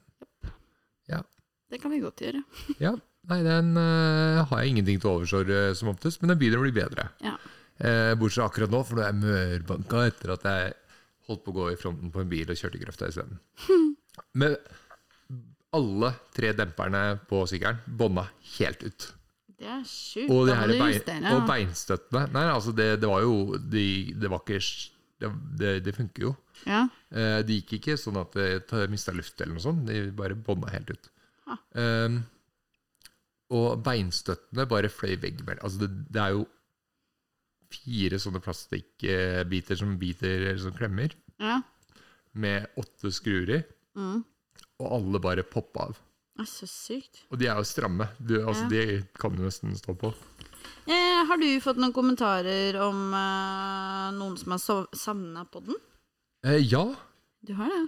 S2: det kan vi godt gjøre.
S1: Ja, nei, den eh, har jeg ingenting til overs for eh, som oftest, men den begynner å bli bedre.
S2: Ja.
S1: Eh, bortsett fra akkurat nå, for nå er jeg mørbanka etter at jeg holdt på å gå i fronten på en bil og kjørte i
S2: [LAUGHS]
S1: grøfta isteden. Men alle tre demperne på sykkelen bånda helt ut.
S2: Det er sjukt.
S1: Og, de
S2: Mm, Da må
S1: her
S2: du
S1: bein,
S2: justere, ja.
S1: og beinstøttene Nei, altså det, det var jo de, Det var ikke Det, det, det funker jo.
S2: Ja.
S1: Eh, det gikk ikke sånn at jeg mista luft eller noe sånt. De bare bånda helt ut.
S2: Ah.
S1: Um, og beinstøttene bare fløy veggimellom. Altså det, det er jo fire sånne plastikkbiter som biter eller som klemmer,
S2: ja.
S1: med åtte skruer i,
S2: Mm.
S1: og alle bare poppa av.
S2: Det er så sykt.
S1: Og de er jo stramme. Du, altså,
S2: Ja.
S1: De kan du nesten stå på.
S2: Eh, har du fått noen kommentarer om eh, noen som har sov- savna på den?
S1: Eh, ja,
S2: Du har det?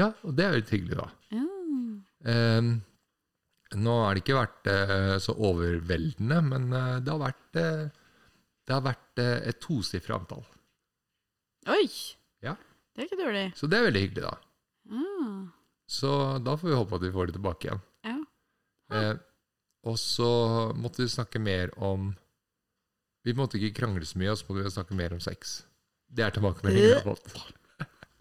S1: ja, og det er jo litt hyggelig, da.
S2: Ja.
S1: Ehm, nå har det ikke vært eh, så overveldende, men eh, det har vært, eh, det har vært eh, et tosifra antall.
S2: Oi!
S1: Ja.
S2: Det er ikke dårlig.
S1: Så det er veldig hyggelig, da.
S2: Ah.
S1: Så da får vi håpe at vi får det tilbake igjen.
S2: Ja.
S1: Eh, og så måtte vi snakke mer om Vi måtte ikke krangle så mye, og så måtte vi snakke mer om sex. Det er tilbakemeldingen jeg har fått.
S2: [LAUGHS]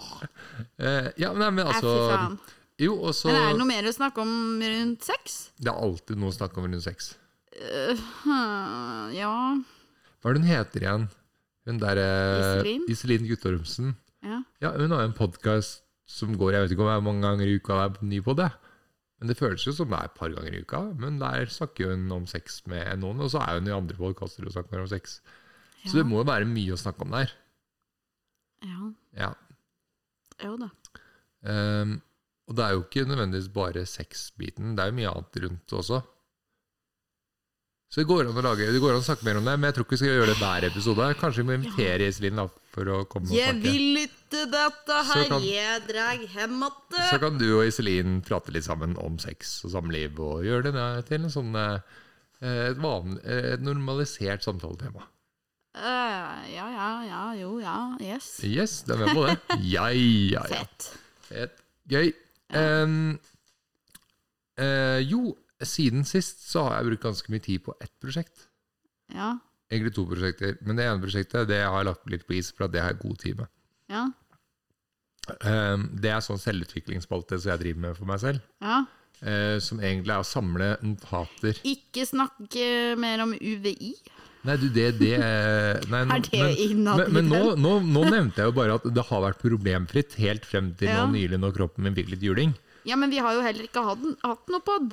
S1: Eh, ja, nei, men
S2: Altså,
S1: altså
S2: fy faen.
S1: Jo, og så
S2: Men er det
S1: Det
S2: noe mer å snakke om rundt sex?
S1: er alltid noe å snakke om rundt sex.
S2: Eh, hm, ja.
S1: Hva er det hun heter igjen? Hun derre
S2: Iselin?
S1: Iselin Guttormsen.
S2: ja.
S1: Ja, hun har jo en podkast som går Jeg vet ikke om det er mange ganger i uka det er ny på det. Men det føles jo som det er et par ganger i uka. Men der snakker hun om sex med noen, og så er hun i andre podkaster og snakker om sex. Så det må jo være mye å snakke om der.
S2: Ja,
S1: Ja.
S2: jo da.
S1: Ehm, og det er jo ikke nødvendigvis bare sexbiten, det er jo mye annet rundt det også. Så det går an å lage, det går an å snakke mer om det, men jeg tror ikke vi skal gjøre det hver episode. Kanskje vi må invitere Iselin da, for å komme og
S2: Jeg
S1: snakke.
S2: vil ikke dette
S1: Så
S2: her,
S1: kan-
S2: jeg drar hjem
S1: Så
S2: att.
S1: kan du og Iselin prate litt sammen om sex og samliv, og gjøre det der til en sånn, eh, et, van, eh, et normalisert samtaletema.
S2: Eh, ja, ja, ja, jo, ja, yes.
S1: Yes, du er med på det? Ja, ja, ja.
S2: Fett.
S1: Et, gøy. Em, eh, jo, siden sist så har jeg brukt ganske mye tid på ett prosjekt.
S2: Ja,
S1: Egentlig to prosjekter, men det ene prosjektet det har jeg lagt litt på is, for at det har jeg god tid med.
S2: ja,
S1: Em, det er sånn selvutviklingsspalte som jeg driver med for meg selv,
S2: ja.
S1: eh, som egentlig er å samle notater
S2: Ikke snakke mer om UVI.
S1: Nei, du, det, det eh, nei,
S2: [LAUGHS]
S1: nå-
S2: Er det
S1: men-
S2: innad i
S1: Men, men nå, nå, nå nevnte jeg jo bare at det har vært problemfritt helt frem til
S2: Ja.
S1: nå nylig, når kroppen min fikk litt juling.
S2: Ja, men vi har jo heller ikke hatt, hatt noe pod.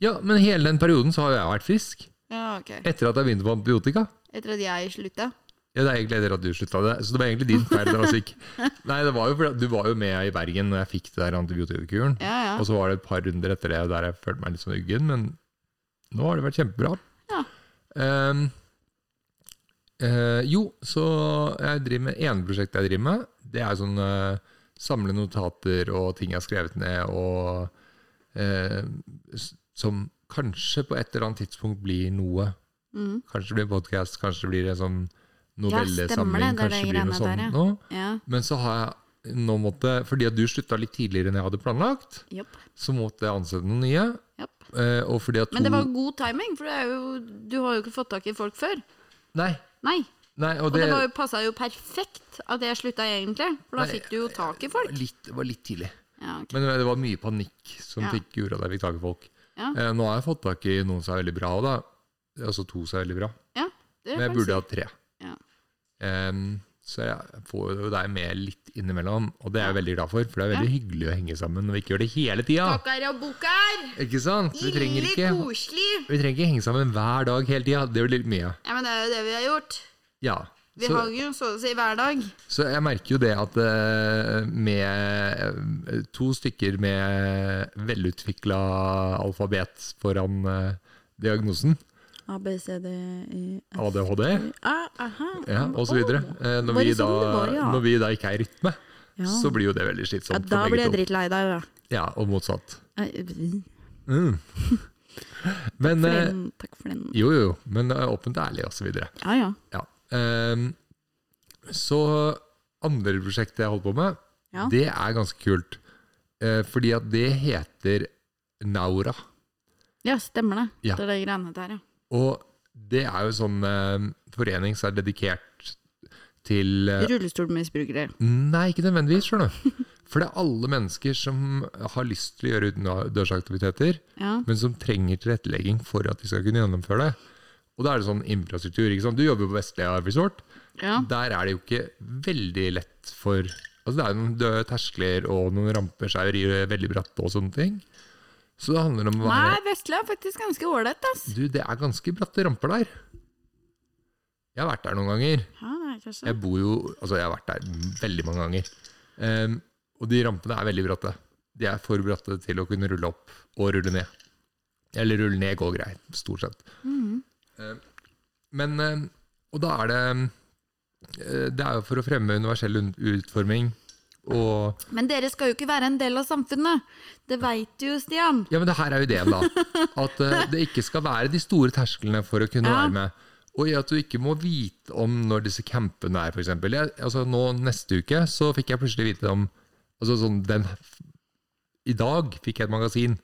S1: Ja, men hele den perioden så har jeg vært frisk.
S2: Ja, ok.
S1: Etter at jeg begynte på antibiotika.
S2: Etter at jeg slutta.
S1: Ja, det er egentlig etter at du slutta det, så det var egentlig din feil da jeg var
S2: [LAUGHS]
S1: syk. Nei, det var jo fordi at du var jo med i Bergen når jeg fikk det der antibiotikakuren.
S2: Ja, ja.
S1: Og så var det et par runder etter det der jeg følte meg litt sånn uggen, men nå har det vært kjempebra.
S2: Ja.
S1: Ehm, eh, jo, så jeg driver med ene prosjektet jeg driver med, det er sånn eh, samle notater og ting jeg har skrevet ned, og eh, s- som kanskje på et eller annet tidspunkt blir noe.
S3: Mm.
S1: Kanskje det blir podkast, kanskje det blir en sånn
S3: Ja, stemmer det,
S1: novellesamling,
S3: det er det
S1: kanskje det blir noe
S3: greiene der, ja.
S1: sånt nå.
S3: Ja.
S1: Men så har jeg nå måtte, fordi at du slutta litt tidligere enn jeg hadde planlagt,
S3: Jopp.
S1: så måtte jeg ansette noen nye.
S3: Jopp.
S1: eh, Og fordi at to
S3: Men det var god timing, for det er jo, du har jo ikke fått tak i folk før.
S1: Nei.
S3: Nei.
S1: nei og
S3: Og
S1: det,
S3: det, var jo passa jo perfekt at jeg slutta, egentlig. For da
S1: Nei,
S3: fikk du jo tak i folk.
S1: litt, det var litt tidlig.
S3: Ja, ok.
S1: Men det var mye panikk som
S3: Ja.
S1: fikk gjorde at jeg fikk tak i folk.
S3: Ja.
S1: Eh, Nå har jeg fått tak i noen som er veldig bra, og da. altså to som er veldig bra.
S3: ja det
S1: Men jeg
S3: kan du si.
S1: burde hatt tre.
S3: Ja.
S1: Em, så jeg får jo deg med litt innimellom, og det er jeg veldig glad for. For det er veldig hyggelig å henge sammen når vi ikke gjør det hele tida.
S3: Takker og boker!
S1: Ikke sant? Vi trenger
S3: Ille
S1: ikke
S3: koselig!
S1: Vi trenger ikke henge sammen hver dag hele tida. Det blir litt mye.
S3: Ja, men det er jo det vi har gjort.
S1: Ja.
S3: Vi
S1: Så,
S3: har jo så å si hver dag.
S1: så jeg merker jo det at eh, med eh, to stykker med velutvikla alfabet foran eh, diagnosen,
S2: A, B, C, D, I F.
S1: ADHD
S2: Ah, aha.
S1: ja, osv., eh, når,
S2: Var
S1: vi
S2: det
S1: da-
S2: sånn det var, ja?
S1: når vi da ikke er i rytme,
S2: Ja.
S1: så blir jo det veldig
S2: Ja,
S1: slitsomt
S2: da blir
S1: for
S2: jeg
S1: begge to.
S2: drittlei deg, da.
S1: Ja, og motsatt.
S2: Eh, [LAUGHS]
S1: Mm. Men
S2: For
S1: eh,
S2: den, takk for den.
S1: Jo, jo, men eh, åpent og ærlig, osv.
S2: Ja, ja.
S1: Ja. ehm, så andre prosjektet jeg holder på med,
S2: Ja.
S1: det er ganske kult. Eh, fordi at det heter Naura.
S3: Ja, stemmer det.
S1: Ja.
S3: Det er det greiene der, ja.
S1: Og det er jo en sånn eh, forening som er dedikert til eh,
S3: Rullestolmisbrukere.
S1: Nei, ikke nødvendigvis, skjønner du. For det er alle mennesker som har lyst til å gjøre utendørsaktiviteter,
S3: Ja.
S1: men som trenger tilrettelegging for at de skal kunne gjennomføre det. Og da er det sånn infrastruktur. ikke sant? Du jobber jo på Vestlia Resort.
S3: ja.
S1: Der er det jo ikke veldig lett for Altså Det er jo noen døde terskler og noen ramper som er i- veldig bratte og sånne ting. Så det handler om å
S3: Nei,
S1: være
S3: Vestlia er faktisk ganske ålreit, ass.
S1: Du, det er ganske bratte ramper der. Jeg har vært der noen ganger.
S3: Ja, det er kanskje.
S1: Jeg bor jo Altså, jeg har vært der veldig mange ganger. Ehm, og de rampene er veldig bratte. De er for bratte til å kunne rulle opp og rulle ned. Eller rulle ned går greit, stort sett. Ehm,
S3: Mhm.
S1: Men, eh, og da er det eh, Det er jo for å fremme universell un- utforming. Og
S3: Men dere skal jo ikke være en del av samfunnet. Det veit du jo, Stian.
S1: Ja, men det her er jo ideen, da. At eh, det ikke skal være de store tersklene for å kunne
S3: Ja.
S1: være med. Og i at du ikke må vite om når disse campene er, f.eks. Altså, nå neste uke så fikk jeg plutselig vite om Altså sånn den I dag fikk jeg et magasin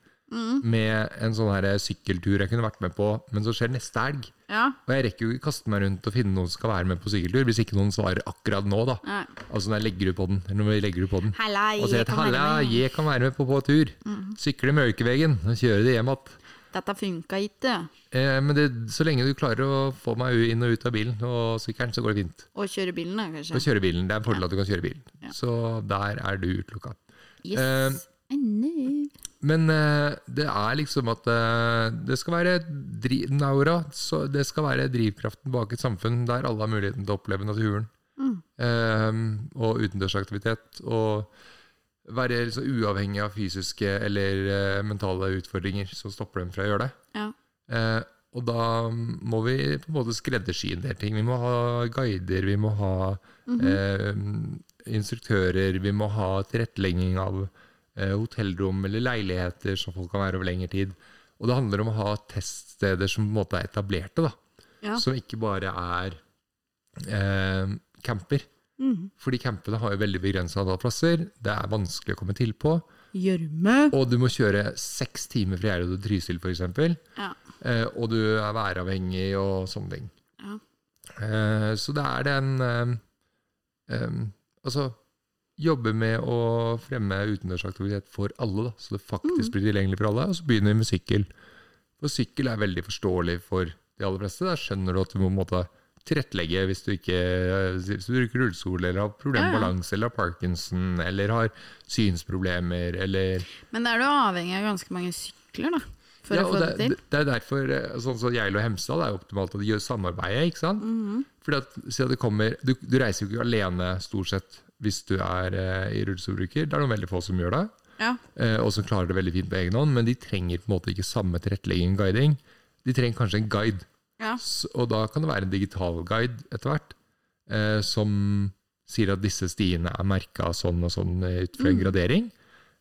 S1: med en sånn her sykkeltur jeg kunne vært med på, men som skjer neste helg.
S3: Ja.
S1: Og jeg rekker jo ikke kaste meg rundt og finne noen som skal være med på sykkeltur, hvis ikke noen svarer akkurat nå, da.
S3: Nei.
S1: Altså når jeg legger ut på den, eller når vi legger ut på den.
S3: Halla,
S1: Og sier
S3: jeg
S1: at
S3: kan være
S1: halla,
S3: med. Mhm.
S1: jeg kan være med på, på tur. Sykle Mørkeveggen, og kjøre det hjem att.
S3: Dette funka ikke.
S1: Eh, men det, så lenge du klarer å få meg u- inn og ut av bilen og sykkelen, så går det fint.
S3: Å kjøre bilen, da,
S1: Og
S3: kanskje.
S1: kjøre bilen, det er en fordel at du kan kjøre bilen.
S3: Ja.
S1: Så der er du utelukka. eh,
S3: Yes. I know.
S1: Men eh, det er liksom at eh, det skal være dri Naura, så det skal være drivkraften bak et samfunn der alle har muligheten til å oppleve naturen.
S3: Mm.
S1: Eh, og utendørsaktivitet. Og være liksom uavhengig av fysiske eller eh, mentale utfordringer som stopper dem fra å gjøre det.
S3: Ja.
S1: Eh, og da må vi på en måte skreddersy en del ting. Vi må ha guider, vi må ha eh, instruktører, vi må ha tilrettelegging av eh, hotellrom eller leiligheter som folk kan være over lengre tid. Og det handler om å ha teststeder som på en måte er etablerte, da.
S3: Ja.
S1: Som ikke bare er eh, camper.
S3: Mhm.
S1: Fordi campene har jo veldig begrensa antall plasser, det er vanskelig å komme til på.
S3: Gjørme.
S1: Og du må kjøre seks timer fra Gjerdø til Trysil, f.eks.
S3: Ja.
S1: Eh, og du er væravhengig og sånne ting.
S3: Ja.
S1: Eh, så det er den eh, eh, Altså, jobbe med å fremme utendørsaktivitet for alle, da, så det faktisk
S3: Mhm.
S1: blir tilgjengelig for alle. Og så begynner vi med sykkel. For sykkel er veldig forståelig for de aller fleste. Der skjønner du at du må på en måte tilrettelegge hvis du ikke eh, hvis du bruker rullestol, eller har problemer med
S3: Ja, ja.
S1: balanse, eller har Parkinson, eller har synsproblemer, eller
S3: Men da er du avhengig av ganske mange sykler, da. For
S1: ja,
S3: å
S1: og
S3: få det,
S1: det,
S3: til.
S1: Det er derfor eh, sånn som Geilo og Hemsedal det er jo optimalt at de gjør samarbeidet. ikke sant?
S3: Mm-hmm.
S1: Fordi at, si at det kommer, du, du reiser jo ikke alene stort sett hvis du er eh, i rullestolbruker. Det er noen veldig få som gjør det,
S3: Ja.
S1: eh, og som klarer det veldig fint på egen hånd. Men de trenger på en måte ikke samme tilrettelegging og guiding. De trenger kanskje en guide.
S3: Ja.
S1: S- Og da kan det være en digital guide etter hvert, eh, som sier at disse stiene er merka sånn og sånn eh, ut
S3: Mm.
S1: fra en gradering.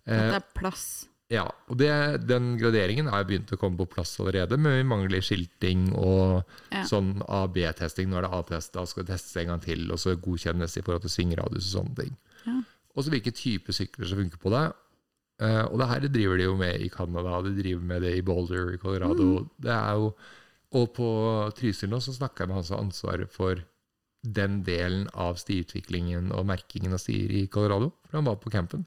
S4: At
S1: Eh,
S4: det er plass.
S1: ja, og det, den graderingen er begynt å komme på plass allerede, men vi mangler skilting og
S4: Ja.
S1: sånn AB-testing. Nå er det A-test, da skal det testes en gang til, og så godkjennes i forhold til svingradius og sånne ting.
S4: Ja.
S1: Og så hvilke typer sykler som funker på det. Eh, og det her driver de jo med i Canada, de driver med det i Boulder i Colorado.
S4: Mm.
S1: Det er jo, og på Trysil nå så snakker jeg med han som har ansvaret for den delen av stiutviklingen og merkingen av stier i Colorado, for han var på campen.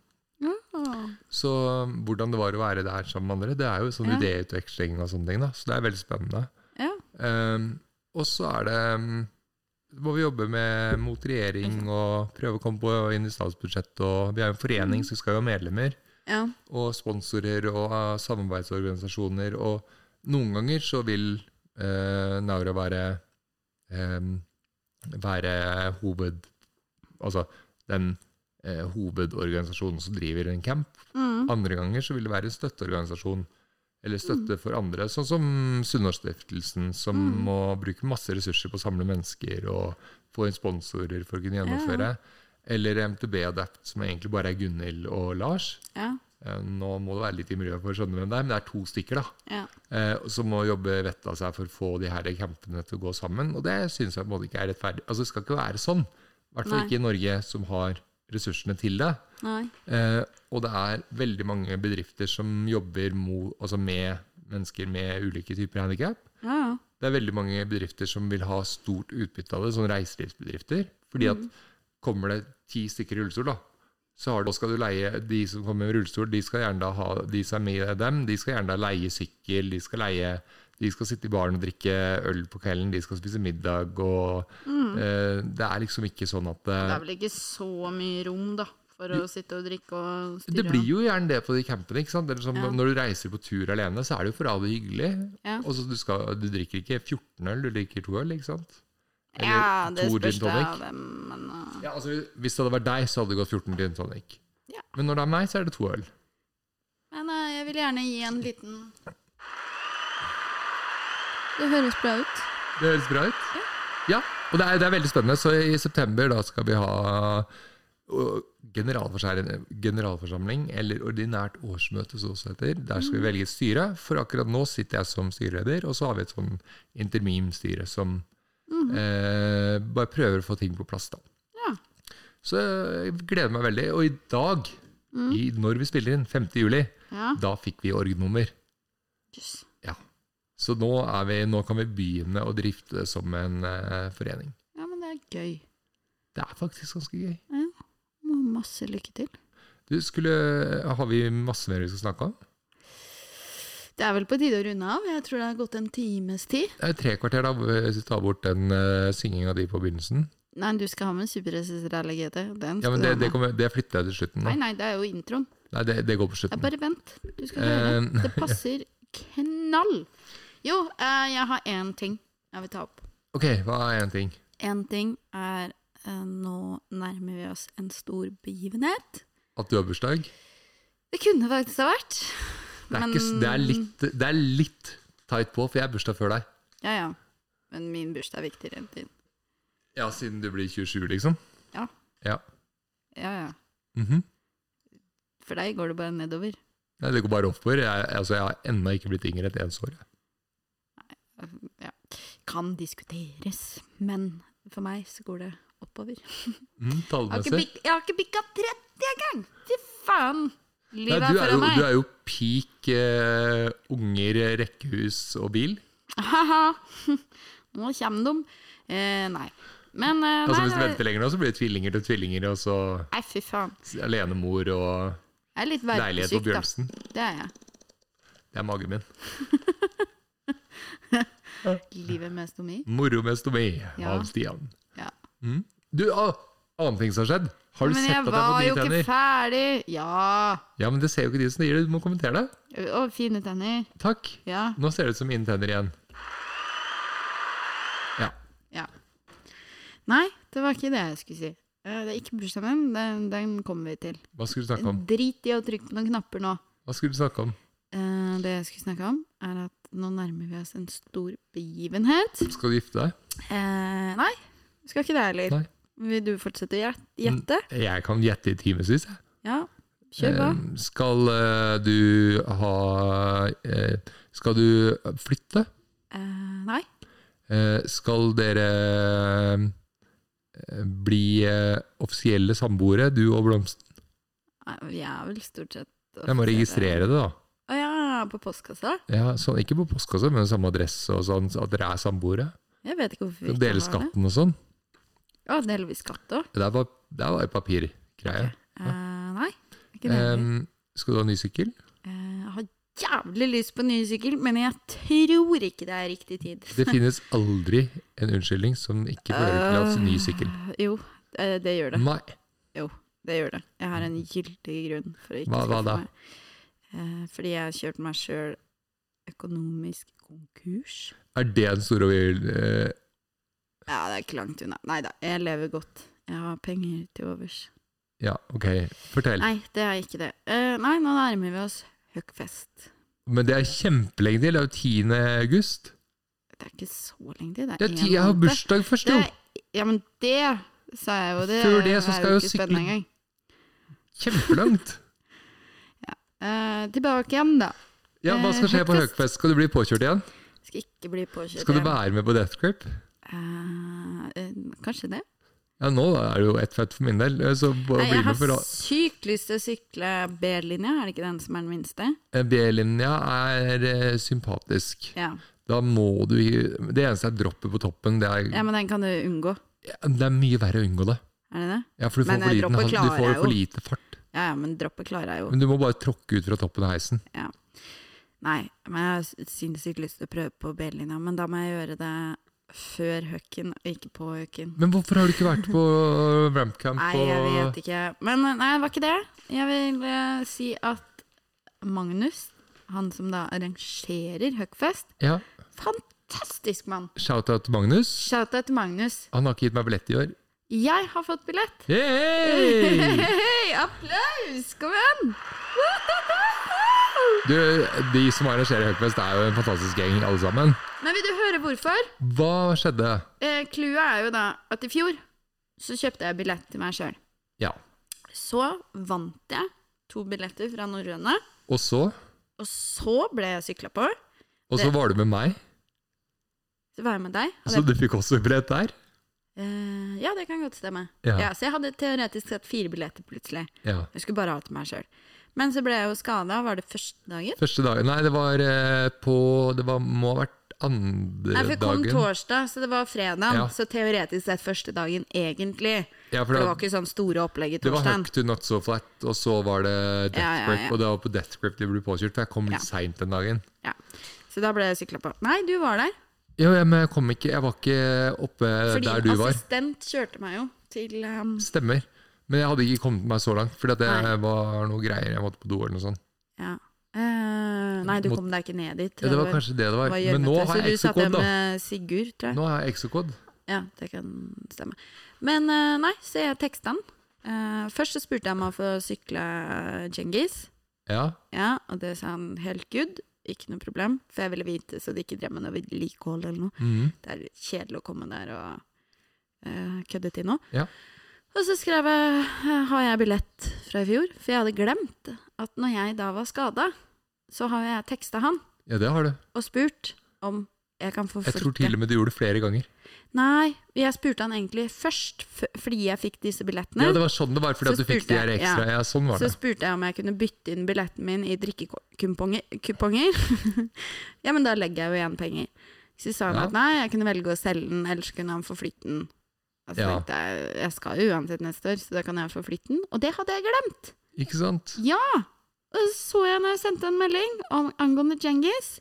S1: Så um, hvordan det var å være der sammen med andre, det er jo sånn
S4: Ja.
S1: idéutveksling og sånne ting. da, Så det er veldig spennende.
S4: Ja.
S1: Um, og så er det um, må vi jobbe med mot regjering og prøve å komme på inn i statsbudsjettet. og Vi er jo en forening, så vi skal jo ha medlemmer.
S4: Ja.
S1: Og sponsorer og uh, samarbeidsorganisasjoner. Og noen ganger så vil uh, Naura være um, være hoved... Altså den eh, hovedorganisasjonen som driver en camp.
S3: Mm-hmm.
S2: Mm.
S1: Andre ganger så vil det være en støtteorganisasjon, eller støtte for andre, sånn som Sunnmørsstiftelsen, som må bruke masse ressurser på å samle mennesker og få inn sponsorer for å kunne gjennomføre. Eller MTB Adapt, som egentlig bare er Gunhild og Lars.
S2: Ja.
S1: Eh, Nå må det være litt i miljøet for å skjønne hvem det er, men det er to stykker da,
S2: Ja.
S1: eh, som må jobbe vettet av seg for å få de her campene til å gå sammen. Og det syns jeg på en måte ikke er rettferdig. Altså, det skal ikke være sånn. I hvert fall
S2: Nei.
S1: ikke i Norge, som har ressursene til det.
S2: Nei.
S1: Eh, og det er veldig mange bedrifter som jobber mo, altså med mennesker med ulike typer handikap.
S2: Ja, ja.
S1: Det er veldig mange bedrifter som vil ha stort utbytte av det, sånn reiselivsbedrifter. Fordi
S2: Mm.
S1: at kommer det ti stykker i rullestol, da, så har du, da skal du leie de som kommer med rullestol, de skal gjerne da ha de som er med dem, de skal gjerne da leie sykkel, de skal leie de skal sitte i baren og drikke øl på kvelden, de skal spise middag og eh, Det er liksom ikke sånn at eh,
S2: Mm. Det er vel ikke så mye rom, da, for å sitte og drikke og styre.
S1: Det blir jo gjerne det på de campene. ikke sant? Eller som
S2: Ja.
S1: Når du reiser på tur alene, så er det jo for alle hyggelig.
S2: Ja.
S1: Og så du, skal, du drikker ikke 14 øl, du drikker to øl, ikke sant? Eller
S2: ja, det
S1: to
S2: spørs
S1: gin
S2: det
S1: tonic.
S2: av hvem, men uh,
S1: Ja, altså, hvis det hadde vært deg, så hadde det gått 14 gin tonic.
S2: Ja.
S1: Men når det er meg, så er det to øl.
S2: Men uh, jeg vil gjerne gi en liten Det høres bra ut.
S1: Det høres bra ut. Ja. og det er, det er veldig spennende. Så i september da skal vi ha ø, generalforsamling, generalforsamling eller ordinært årsmøte, som det også heter. Der skal vi velge et styre. For akkurat nå sitter jeg som styreleder, og så har vi et sånn interimstyre som eh, bare prøver å få ting på plass, da.
S2: Ja.
S1: Så jeg gleder meg veldig. Og i dag, i, når vi spiller inn, 5. juli,
S2: Ja.
S1: da fikk vi org-nummer.
S2: Jøss.
S1: Ja. Så nå, er vi, nå kan vi begynne å drifte det som en eh, forening.
S2: Ja, men det er gøy.
S1: Det er faktisk ganske gøy.
S2: Må ha Masse lykke til.
S1: Du, skulle, Har vi masse mer vi skal snakke om?
S2: Det er vel på tide å runde av. Jeg tror det har gått en times tid.
S1: Det er tre kvarter, da. Hvis vi tar bort den uh, synginga di på begynnelsen.
S2: Nei, du skal ha med superresisteralegete. Den
S1: Ja,
S2: skal
S1: men
S2: du
S1: Det,
S2: ha
S1: det,
S2: med.
S1: kommer, det flytter jeg til slutten.
S2: Nei,
S1: Da.
S2: nei, det er jo introen.
S1: Nei, det, det går på
S2: Det er
S1: slutten.
S2: bare vent. Du skal høre.
S1: [LAUGHS] Eh,
S2: Det passer knall. Jo, eh, jeg har én ting jeg vil ta opp.
S1: Ok, hva er én ting?
S2: Én ting er eh, Nå nærmer vi oss en stor begivenhet.
S1: At du har bursdag?
S2: Det kunne faktisk ha vært.
S1: Det er, ikke, s- det er litt, det er litt tight på, for jeg har bursdag før deg.
S2: Ja, ja. Men min bursdag er viktigere enn din.
S1: Ja, siden du blir 27, liksom.
S2: Ja.
S1: Ja.
S2: Ja, ja.
S1: Mhm.
S2: For deg går det bare nedover.
S1: Nei, det går bare oppover. Jeg, altså, jeg har ennå ikke blitt yngre et eneste år. jeg.
S2: Ja. Kan diskuteres, men for meg så går det oppover. Jeg har
S1: Mm,
S2: ikke,
S1: tallmessig.
S2: bik jeg har ikke bikka 30 engang! Fy faen!
S1: Nei,
S2: Livet
S1: du,
S2: er
S1: er
S2: foran
S1: jo,
S2: meg.
S1: du er jo peak eh, unger, rekkehus og bil.
S2: Haha. [LAUGHS] Nå kommer de. Eh, nei. Men eh,
S1: Altså,
S2: nei,
S1: hvis du
S2: nei,
S1: venter lenger nå, så blir det tvillinger til tvillinger, og så
S2: nei, fy faen.
S1: alenemor og
S2: Jeg er litt
S1: leilighet på
S2: verpesyk, da.
S1: Bjørnsen.
S2: Det er jeg.
S1: Det er magen min.
S2: Livet med stomi.
S1: Moro med stomi
S2: Ja.
S1: av Stian.
S2: Ja.
S1: Mm. Du, ah, annen ting som har skjedd. Har du
S2: Men
S1: sett
S2: jeg
S1: at jeg
S2: var
S1: har
S2: jo
S1: fått nye
S2: ikke
S1: tenner?
S2: ferdig! Ja.
S1: Ja, men det ser jo ikke de som det gir det. Du må kommentere det.
S2: Å, fine tenner.
S1: Takk.
S2: Ja.
S1: Nå ser det ut som mine tenner igjen. Ja.
S2: ja. Nei, det var ikke det jeg skulle si. Eh, Det er ikke bursdagen min. Den, den kommer vi til.
S1: Hva skulle du snakke om?
S2: Drit i å trykke på noen knapper nå.
S1: Hva skulle du snakke om?
S2: Eh, Det jeg skulle snakke om, er at nå nærmer vi oss en stor begivenhet.
S1: Skal du gifte deg?
S2: Eh, nei, skal ikke det heller.
S1: Nei. Mm.
S5: Vil du fortsette å gjet- gjette?
S1: Jeg kan gjette i timevis. jeg.
S5: Ja, kjør på.
S1: Eh, Skal eh, du ha eh, Skal du flytte?
S2: Eh, nei.
S1: Eh, Skal dere eh, bli eh, offisielle samboere, du og Blomsten?
S2: Nei, Vi er vel stort sett
S1: Jeg må registrere det, da.
S2: Å ja, på postkassa?
S1: Ja, sånn, ikke på postkasse, men samme adresse og sånn, så at dere er samboere.
S2: Jeg vet ikke hvorfor vi
S1: Skal
S2: ikke
S1: dele
S2: har det.
S1: skatten og sånn.
S2: Ja, deler vi skatt òg?
S1: Det er bare, det er bare papirgreie.
S2: Eh, nei. Ikke deler.
S1: Em, skal du ha ny sykkel?
S2: Eh, jeg har jævlig lyst på ny sykkel, men jeg tror ikke det er riktig tid.
S1: Det
S2: [LAUGHS]
S1: finnes aldri en unnskyldning som ikke fører til at ny sykkel. Mm.
S2: Eh, jo, eh, det gjør det.
S1: Nei.
S2: Det gjør det. Jeg har en gyldig grunn for å ikke
S1: Hva- hva
S2: skaffe
S1: da?
S2: meg. Eh, fordi jeg kjørte meg sjøl økonomisk konkurs.
S1: Er det den store eh,
S2: Ja, det er ikke langt unna. Nei da, jeg lever godt. Jeg har penger til overs.
S1: Ja, ok. Fortell.
S2: Nei, det er ikke det. Eh, nei, nå nærmer vi oss Høgfest.
S1: Men det er kjempelenge til. Det er jo 10. august.
S2: Det er ikke så lenge til. Det
S1: Det
S2: er
S1: er
S2: en
S1: ti, jeg har
S2: måned.
S1: bursdag først,
S2: Det
S1: jo!
S2: er- Ja, men det sa jeg jo. Det
S1: Før det så
S2: er
S1: skal jeg jo
S2: ikke spennende
S1: sykle-
S2: engang.
S1: Kjempelangt!
S2: Eh, tilbake igjen, da.
S1: Ja, Hva skal skje på
S2: Høgfest.
S1: Høgfest? Skal du bli påkjørt igjen?
S2: Skal ikke bli påkjørt.
S1: Skal du
S2: igjen.
S1: være med på Death Grip?
S2: Eh, eh, kanskje det.
S1: Ja, nå er det jo ett fett for min del, Eh, så bare
S2: Nei,
S1: bli
S2: jeg
S1: med.
S2: har
S1: for å...
S2: sykt lyst til å sykle B-linja, er det ikke den som er den minste?
S1: B-linja er eh, sympatisk.
S2: Ja,
S1: Da må du ikke- Det eneste er droppet på toppen. Det er,
S2: ja men den kan du unngå,
S1: det er mye verre å unngå det.
S2: er det det?
S1: Ja, for du får,
S2: Men,
S1: for
S2: eh,
S1: liten,
S2: droppet
S1: has- du
S2: klarer
S1: får
S2: jeg
S1: for
S2: jo.
S1: lite fart.
S2: Ja, ja, men droppet klarer jeg jo.
S1: Men du må bare tråkke ut fra toppen av heisen.
S2: Nei, men jeg har s- sinnssykt lyst til å prøve på B-linja, men da må jeg gjøre det før høkken, og ikke på høkken.
S1: Men hvorfor har du ikke vært på Rampcamp?
S2: Nei, jeg vet ikke. Men eh, nei, det var ikke det. Jeg vil eh, si at Magnus, han som da arrangerer Høgfest,
S1: Ja,
S2: fantastisk mann!
S1: Shout-out til Magnus.
S2: Shout-out til Magnus.
S1: Han har ikke gitt meg billett i år.
S2: Jeg har fått billett! [LAUGHS]
S1: Yay!
S2: Hei, applaus! Kom igjen!
S1: Du, de som arrangerer Høgfest, er jo en fantastisk gjeng, alle sammen.
S2: Men vil du høre hvorfor?
S1: Hva skjedde?
S2: Eh, Clouet er jo da at i fjor så kjøpte jeg billett til meg sjøl.
S1: Ja.
S2: Så vant jeg to billetter fra norrøne,
S1: Og så?
S2: og så ble jeg sykla på.
S1: Og så var du med meg,
S2: Så var jeg med deg.
S1: så
S2: Hadde,
S1: du fikk også billett der?
S2: eh, ja, det kan godt stemme.
S1: Ja.
S2: Ja, Så jeg hadde teoretisk sett fire billetter plutselig.
S1: ja.
S2: Jeg skulle bare ha til meg sjøl. Men så ble jeg jo skada, var det første dagen?
S1: Første dagen Nei, det var eh, på Det var, må ha vært andre
S2: Nei, for jeg kom
S1: dagen.
S2: torsdag, så det var fredag.
S1: Ja.
S2: Så teoretisk sett første dagen, egentlig.
S1: Ja,
S2: For
S1: for
S2: det var
S1: det,
S2: ikke sånn store opplegget
S1: det var
S2: torsdagen.
S1: Huck to Not So Flat, og så var det Death
S2: Ja, ja,
S1: Grip.
S2: ja.
S1: Og det var på Death Grip de ble påkjørt, for jeg kom litt
S2: Ja.
S1: seint den dagen.
S2: Ja. Så da ble jeg sykla på. Nei, du var der.
S1: Jo, ja, men jeg kom ikke Jeg var ikke oppe
S2: Fordi
S1: Eh, der du var.
S2: assistent kjørte meg jo til um,
S1: Stemmer. Men jeg hadde ikke kommet meg så langt, fordi at det
S2: Nei.
S1: var noe greier. Jeg måtte på do eller noe sånt.
S2: Ja. Eh, nei, du
S1: Mot-
S2: kom deg ikke ned dit.
S1: Ja, det var kanskje det det var.
S2: var
S1: Men nå
S2: gjørmete,
S1: har
S2: så
S1: jeg
S2: du satt
S1: exocod,
S2: igjen
S1: da.
S2: med Sigurd, tror jeg.
S1: Nå har jeg exocod.
S2: Ja, det kan stemme. Men eh, nei, så jeg teksta han. Eh, først så spurte jeg om å få sykle Djengis.
S1: Ja.
S2: Ja, og det sa han helt good. Ikke noe problem, for jeg ville vite så det ikke drev med noe vedlikehold eller noe.
S1: Mhm.
S2: det er kjedelig å komme der og eh, kødde til nå.
S1: Ja.
S2: Og så skrev jeg "Eh, har jeg billett fra i fjor, for jeg hadde glemt at når jeg da var skada, så har jeg teksta han
S1: ja, det har du.
S2: og spurt om jeg kan få
S1: Jeg tror til og med du gjorde det flere ganger.
S2: Nei, jeg spurte han egentlig først, f fordi jeg fikk disse billettene.
S1: Ja, det var sånn det var, fordi
S2: Så
S1: at du fikk
S2: spurte
S1: de
S2: jeg,
S1: her ekstra. Ja, sånn var
S2: Så
S1: det.
S2: spurte jeg om jeg kunne bytte inn billetten min i drikkekuponger. [LAUGHS] ja, men da legger jeg jo igjen penger. Så sa han
S1: Ja.
S2: at nei, jeg kunne velge å selge den, ellers kunne han få flytte den. Og så
S1: Ja.
S2: tenkte jeg jeg skal jo uansett neste år, så da kan jeg få flytte den. Og det hadde jeg glemt!
S1: Ikke sant?
S2: Ja! Og så så jeg når jeg sendte en melding om, angående Djengis,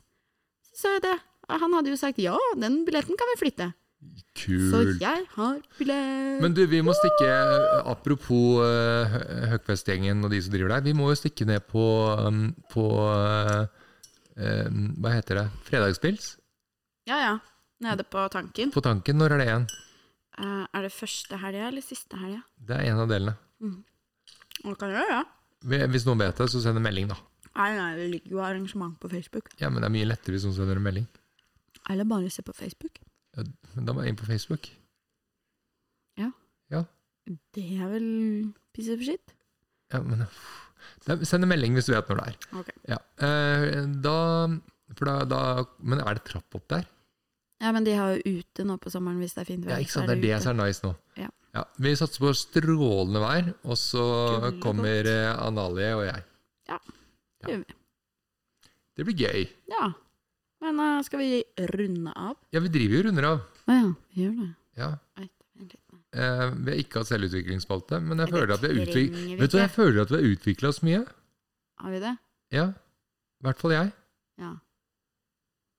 S2: så sa jeg det. Og Han hadde jo sagt ja, den billetten kan vi flytte. Så
S1: Kult.
S2: jeg har billett.
S1: Men du, vi må stikke Apropos eh, Hø- Høgfestgjengen og de som driver der, vi må jo stikke ned på, um, på eh, eh, Hva heter det? Fredagspils?
S2: Ja ja. Nede på tanken.
S1: På Tanken, når er det igjen?
S2: Eh, er det første helga eller siste helga?
S1: Det er en av delene.
S2: Man kan gjøre det.
S1: Hvis noen vet det, så send en melding, da.
S2: Nei, nei, det ligger jo arrangement på Facebook.
S1: Ja, men det er mye lettere hvis noen sender en melding.
S2: Eller bare se på Facebook.
S1: Men da må jeg inn på Facebook.
S2: Ja.
S1: Ja,
S6: Det er vel piece of shit.
S1: Ja, men, Da- send en melding hvis du vet når det er.
S6: Ok.
S1: Ja. Eh, da, for da, da, men er det trapp opp der?
S6: Ja, men de har jo ute nå på sommeren hvis det er fint vær.
S1: Ja, ikke sant?
S6: så
S1: Det er det
S6: ute.
S1: som er nice nå.
S6: Ja.
S1: vi satser på strålende vær, og så
S2: Gullgodt.
S1: kommer eh, Analie og jeg.
S2: Ja, det gjør
S1: Det blir gøy.
S2: Ja. Men eh, skal vi runde av?
S1: Ja, vi driver jo runder av.
S6: Å ja, vi gjør det.
S1: Ja.
S2: Oi, vent litt.
S1: Eh, vi har ikke hatt selvutviklingsspalte, men jeg
S6: Nei,
S1: føler
S6: det
S1: at vi har
S6: trenger
S1: utviklet
S6: vi
S1: Vet du,
S6: ikke.
S1: hva, jeg føler at vi har utvikla oss mye.
S2: Har vi det?
S1: Ja. I hvert fall jeg.
S2: Ja.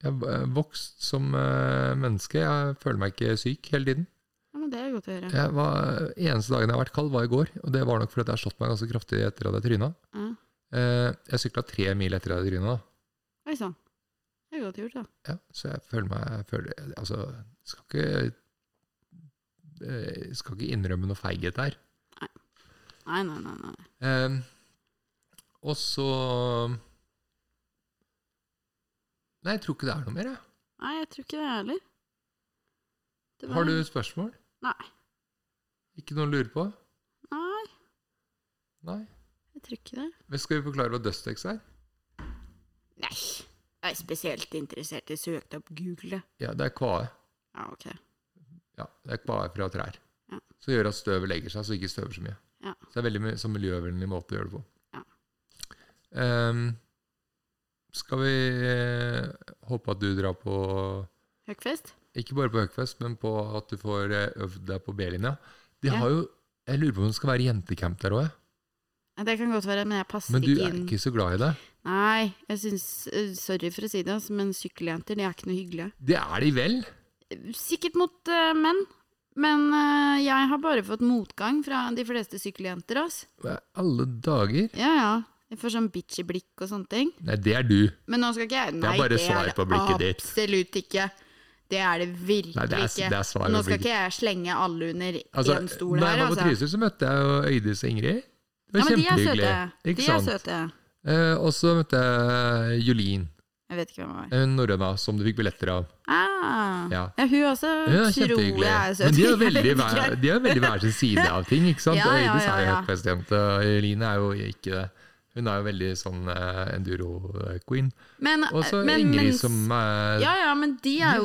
S1: Jeg har eh, vokst som eh, menneske. Jeg føler meg ikke syk hele tiden.
S2: ja men det er godt å høre.
S1: Jeg var, eh, eneste dagen jeg har vært kald, var i går. Og det var nok fordi at jeg har slått meg ganske kraftig etter at jeg tryna.
S2: Ja.
S1: Eh, jeg sykla tre mil etter at jeg tryna.
S2: Oi sann. Det er godt gjort, da.
S1: Ja, så jeg føler meg jeg føler, Altså, skal ikke eh, Skal ikke innrømme noe feighet der.
S2: Nei, nei, nei. nei.
S1: Eh, og så Nei, jeg tror ikke det er noe mer. jeg.
S2: Nei, jeg tror ikke det heller. Det var-
S1: Har du spørsmål?
S2: Nei.
S1: Ikke noe å lure på?
S2: Nei,
S1: Nei?
S2: jeg tror ikke det.
S1: Men skal vi forklare hva Dustex er?
S2: Nei. Jeg er spesielt interessert i søkt opp Google.
S1: Ja, det er kvae.
S2: Ja, ok.
S1: Ja, det er kvae fra trær.
S2: Ja.
S1: Som gjør at støvet legger seg, så det ikke støver så mye.
S2: Ja.
S1: Så det er veldig mye- sånn miljøvennlig måte å gjøre det på.
S2: Ja.
S1: Ehm, skal vi eh, håpe at du drar på
S2: Høgfest?
S1: Ikke bare på Høgfest, men på at du får eh, øvd deg på B-linja. De
S2: Ja.
S1: har jo Jeg lurer på om det skal være jentecamp der òg,
S2: Ja, det kan godt være, men jeg passer
S1: men du
S2: ikke
S1: er
S2: inn.
S1: ikke så glad i det?
S2: Nei, jeg syns eh, Sorry for å si det, altså, men sykkeljenter de er ikke noe hyggelige.
S1: Det er de vel?
S2: Sikkert mot eh, menn, men eh, jeg har bare fått motgang fra de fleste sykkeljenter. Altså.
S1: Hva i Alle dager?
S2: Ja, ja. Jeg får sånn bitchy blikk og sånne ting.
S1: Nei, det er du.
S2: Men nå skal ikke jeg
S1: er
S2: Nei,
S1: bare svar på blikket ditt.
S2: absolutt ikke. Det er det virkelig
S1: Nei, det er,
S2: ikke.
S1: det er svaret.
S2: Nå
S1: på
S2: skal
S1: blikket.
S2: ikke jeg slenge alle under
S1: Altså,
S2: én stol
S1: da
S2: her,
S1: jeg var på
S2: altså.
S1: Trysil, så møtte jeg jo Øydis og Ingrid. Det
S2: Ja,
S1: var
S2: men de er
S1: kjempehyggelig.
S2: søte.
S1: Ikke
S2: De er
S1: sant?
S2: søte.
S1: Eh, og så møtte jeg Julin,
S2: Jeg vet ikke hvem det var.
S1: eh, norrøna, som du fikk billetter av.
S2: Ah, ja.
S1: Ja.
S2: hun også
S1: Ja,
S2: tror jeg
S1: kjempehyggelig.
S2: er søt.
S1: Men de
S2: [LAUGHS]
S1: har
S2: Jeg vet
S1: veldig,
S2: ikke.
S1: hver- de har veldig hver sin side av ting, ikke
S2: [LAUGHS]
S1: sant?
S2: Ja,
S1: og
S2: ja,
S1: Øydis
S2: ja,
S1: er jo
S2: ja.
S1: høytfestjente, og Julin er jo ikke det. Hun er jo veldig sånn eh, enduro-queen.
S2: Men,
S1: Og så
S2: men,
S1: Ingrid
S2: men-
S1: som eh, er
S2: ja, ja, men de er jo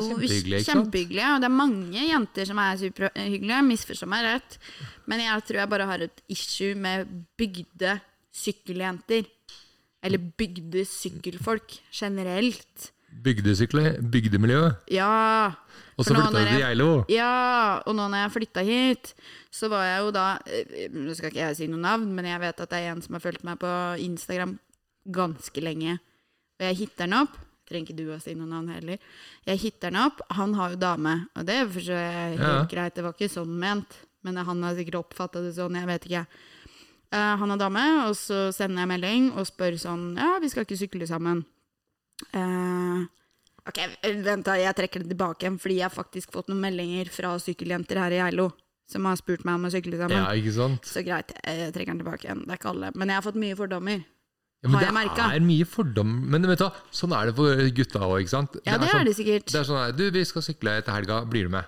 S2: kjempehyggelige,
S1: kjempehyggelige, ikke sant?
S2: og det er mange jenter som er superhyggelige. Misforstå meg rett, men jeg tror jeg bare har et issue med bygde sykkeljenter. Eller bygde sykkelfolk generelt.
S1: bygdesykle, bygdemiljø.
S2: Ja,
S1: Og
S2: For
S1: så
S2: nå
S1: flytta
S2: når
S1: du til
S2: jeg-
S1: Geilo.
S2: Ja, og nå når jeg flytta hit, så var jeg jo da eh, Nå skal ikke jeg si noe navn, men jeg vet at det er en som har fulgt meg på Instagram ganske lenge. Og jeg hitter den opp. Trenger ikke du å si noe navn heller. Jeg hitter den opp. Han har jo dame, og det forstår jeg helt
S1: Ja.
S2: greit. Det var ikke sånn ment, men han har sikkert oppfatta det sånn, jeg vet ikke. Eh, han har dame, og så sender jeg melding og spør sånn Ja, vi skal ikke sykle sammen. Eh, Ok, vent da, jeg trekker det tilbake igjen, fordi jeg har faktisk fått noen meldinger fra sykkeljenter her i Geilo, som har spurt meg om å sykle sammen.
S1: Ja, ikke sant?
S2: Så greit, jeg trekker den tilbake igjen, det er ikke alle. Men jeg har fått mye fordommer.
S1: Ja, men
S2: Har jeg
S1: det
S2: merket.
S1: er mye fordom. Men vet du, hva, sånn er det for gutta òg, ikke sant?
S2: Ja, det
S1: sånn,
S2: er det sikkert.
S1: Det er sånn her, du, vi skal sykle etter helga, blir du med?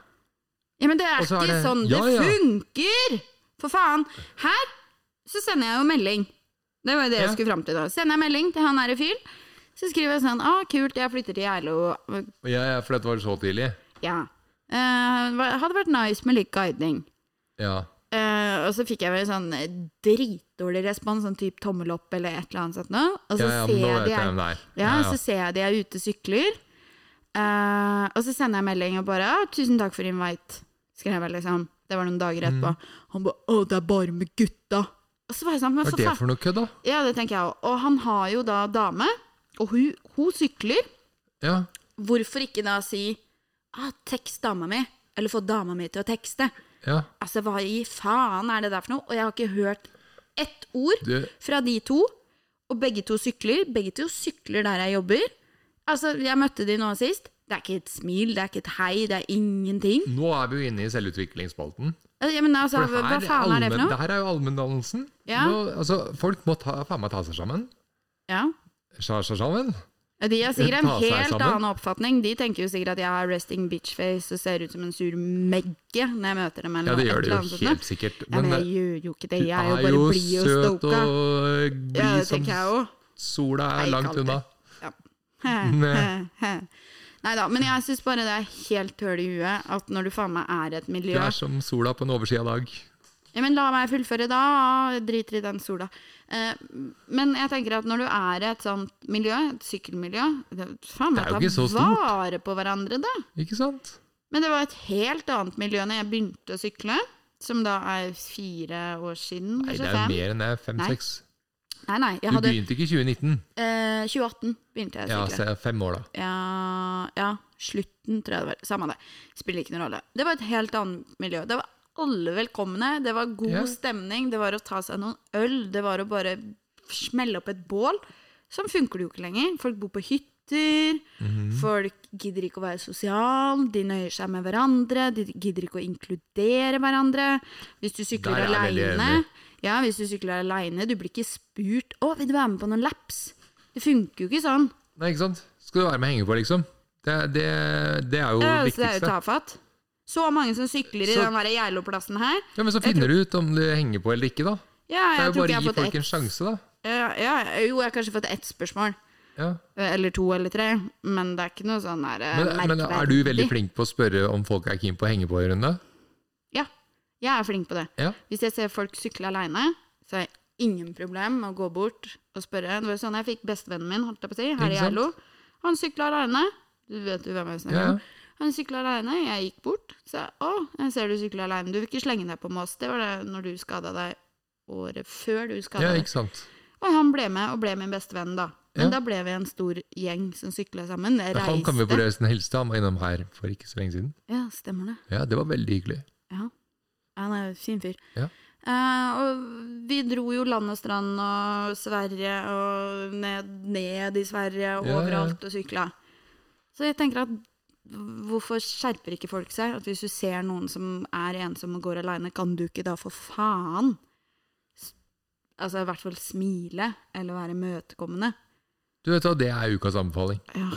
S2: Ja, men det er
S1: Og så
S2: ikke
S1: er det-
S2: sånn
S1: Ja, ja.
S2: det funker! For faen. Her så sender jeg jo melding. Det var jo det
S1: Ja.
S2: jeg skulle fram til da. Sender jeg melding til han her i fyren, så skriver jeg sånn Å, kult, jeg flytter til Geilo.
S1: Og Ja, ja, for dette var så tidlig.
S2: Ja. Eh, hva- hadde vært nice med litt guiding.
S1: Ja.
S2: Eh, og så fikk jeg vel sånn dritdårlig respons, sånn type tommel opp eller et eller annet sånt nå. Og så,
S1: ja, ja, men
S2: ser,
S1: nå
S2: jeg
S1: vet
S2: de
S1: jeg
S2: er,
S1: hvem det er.
S2: ja, så ser jeg de er ute og sykler. Eh, og så sender jeg melding og bare «Ah, 'Tusen takk for invite', skrev jeg liksom. Det var noen dager
S1: Mm.
S2: etterpå. Han bare 'Å, det er bare med gutta'. Og så var jeg sånn, men
S1: Hva
S2: for
S1: er det
S2: faen.
S1: for noe kødd, da?
S2: Ja, det tenker jeg òg. Og han har jo da dame, og hun, hun sykler.
S1: Ja.
S2: Hvorfor ikke da si ah, 'tekst dama mi', eller få dama mi til å tekste'?
S1: ja.
S2: Altså, hva i faen er det der for noe? Og jeg har ikke hørt ett ord
S1: Du,
S2: fra de to. Og begge to sykler. Begge to sykler der jeg jobber. Altså, jeg møtte de nå sist. Det er ikke et smil, det er ikke et hei, det er ingenting.
S1: nå er vi jo inne i selvutviklingsspalten.
S2: Altså, ja, men altså,
S1: For det
S2: hva
S1: her
S2: faen er det for
S1: allmenn-
S2: noe?
S1: her er jo allmenndannelsen.
S2: Ja.
S1: Nå- Altså, folk må ta, faen meg ta seg sammen.
S2: Ja,
S1: Seg seg sammen.
S2: De har sikkert en
S1: Ta seg
S2: helt
S1: sammen.
S2: annen oppfatning. De tenker jo sikkert at jeg har resting bitch-face og ser ut som en sur megge når jeg møter dem. Eller
S1: Ja, det gjør
S2: et
S1: det
S2: eller
S1: jo
S2: annet sånt noe.
S1: helt sikkert.
S2: Ja,
S1: Men
S2: men jeg
S1: eh,
S2: gjør jo ikke det.
S1: du
S2: Jeg er jo
S1: er
S2: bare
S1: jo
S2: blid og
S1: søt
S2: stoka.
S1: og
S2: Ja,
S1: blid
S2: det
S1: som
S2: tenker jeg òg.
S1: sola
S2: Nei,
S1: er
S2: ikke
S1: langt
S2: alltid.
S1: unna. Nei.
S2: Nei da, men jeg syns bare det er helt høl i huet at når du faen meg er i et
S1: Du
S2: miljø
S1: er som sola på en oversida dag.
S2: Ja, men la meg fullføre da, jeg driter i den sola. Eh, men jeg tenker at når du er i et sånt miljø, et sykkelmiljø det, Faen
S1: Det
S2: meg
S1: er
S2: ta
S1: jo ikke så stort.
S2: vare på hverandre, da.
S1: Ikke sant?
S2: Men det var et helt annet miljø når jeg begynte å sykle, som da er fire år siden.
S1: Nei, det
S2: kanskje
S1: er
S2: fem.
S1: mer enn det.
S2: Nei.
S1: Fem-seks.
S2: Nei, nei,
S1: Du
S2: jeg hadde
S1: begynte ikke i 2019.
S2: eh, 2018 begynte jeg
S1: Ja,
S2: å
S1: så
S2: sykle.
S1: jeg er fem år, da.
S2: Ja, ja, slutten, tror jeg det var. Samme det. Spiller ikke noen rolle. Det var et helt annet miljø. Det var alle velkomne, det var god
S1: Ja.
S2: stemning, det var å ta seg noen øl, det var å bare smelle opp et bål. Sånn funker det jo ikke lenger. Folk bor på hytter,
S1: Mhm.
S2: folk gidder ikke å være sosial, de nøyer seg med hverandre, de gidder ikke å inkludere hverandre. Hvis du
S1: Der
S2: sykler
S1: er jeg veldig
S2: aleine
S1: enig.
S2: ja, hvis du sykler alene, du blir ikke spurt 'Å, vil du være med på noen laps?' Det funker jo ikke sånn.
S1: Nei, ikke sant? Skal du være med og henge på, liksom? Det, det, det er jo det
S2: Ja, så det er jo
S1: viktigste.
S2: tafatt. Så mange som sykler i
S1: Så-
S2: den der Geilo-plassen her.
S1: Ja, Men så finner du ut om du henger på eller ikke, da.
S2: Ja,
S1: Det er
S2: jeg tror
S1: jo
S2: ikke
S1: bare
S2: jeg
S1: å
S2: har
S1: gi
S2: fått ett.
S1: folk en sjanse, da.
S2: Ja, ja, jo, jeg har kanskje fått ett spørsmål. Eh,
S1: Ja.
S2: Eller to eller tre. Men det er ikke noe sånn der eh,
S1: Men, men er du veldig
S2: merkverdig.
S1: flink på å spørre om folk er keen på å henge på i runde?
S2: Ja, jeg er flink på det.
S1: Ja.
S2: Hvis jeg ser folk sykle aleine, så har jeg ingen problem med å gå bort og spørre. Det var jo sånn jeg fikk bestevennen min, holdt jeg på å si, her
S1: Ikke
S2: i
S1: sant?
S2: Geilo. Han sykla aleine. Du vet jo hvem jeg snakker
S1: Ja,
S2: om. Han sykla aleine, jeg gikk bort. Så jeg, å, jeg ser du sykler aleine, du vil ikke slenge deg på med oss. Det var det når du skada deg året før du skada
S1: ja,
S2: deg.
S1: ikke sant.
S2: Og han ble med, og ble min bestevenn da. Men da
S1: Ja.
S2: ble vi en stor gjeng som sykla sammen. Jeg
S1: Men han kan vi
S2: reiste.
S1: forresten hilse til, han var innom her for ikke så lenge siden.
S2: Ja, stemmer det.
S1: Ja, det var veldig hyggelig.
S2: Han er en fin fyr.
S1: Ja.
S2: Eh, og vi dro jo land og strand og Sverige og ned, ned i Sverige og
S1: Ja, ja.
S2: overalt og sykla. Så jeg tenker at hvorfor skjerper ikke folk seg? At hvis du ser noen som er ensom og går aleine, kan du ikke da for faen s- Altså i hvert fall smile eller være imøtekommende?
S1: Du vet hva, det er ukas anbefaling.
S2: Ja.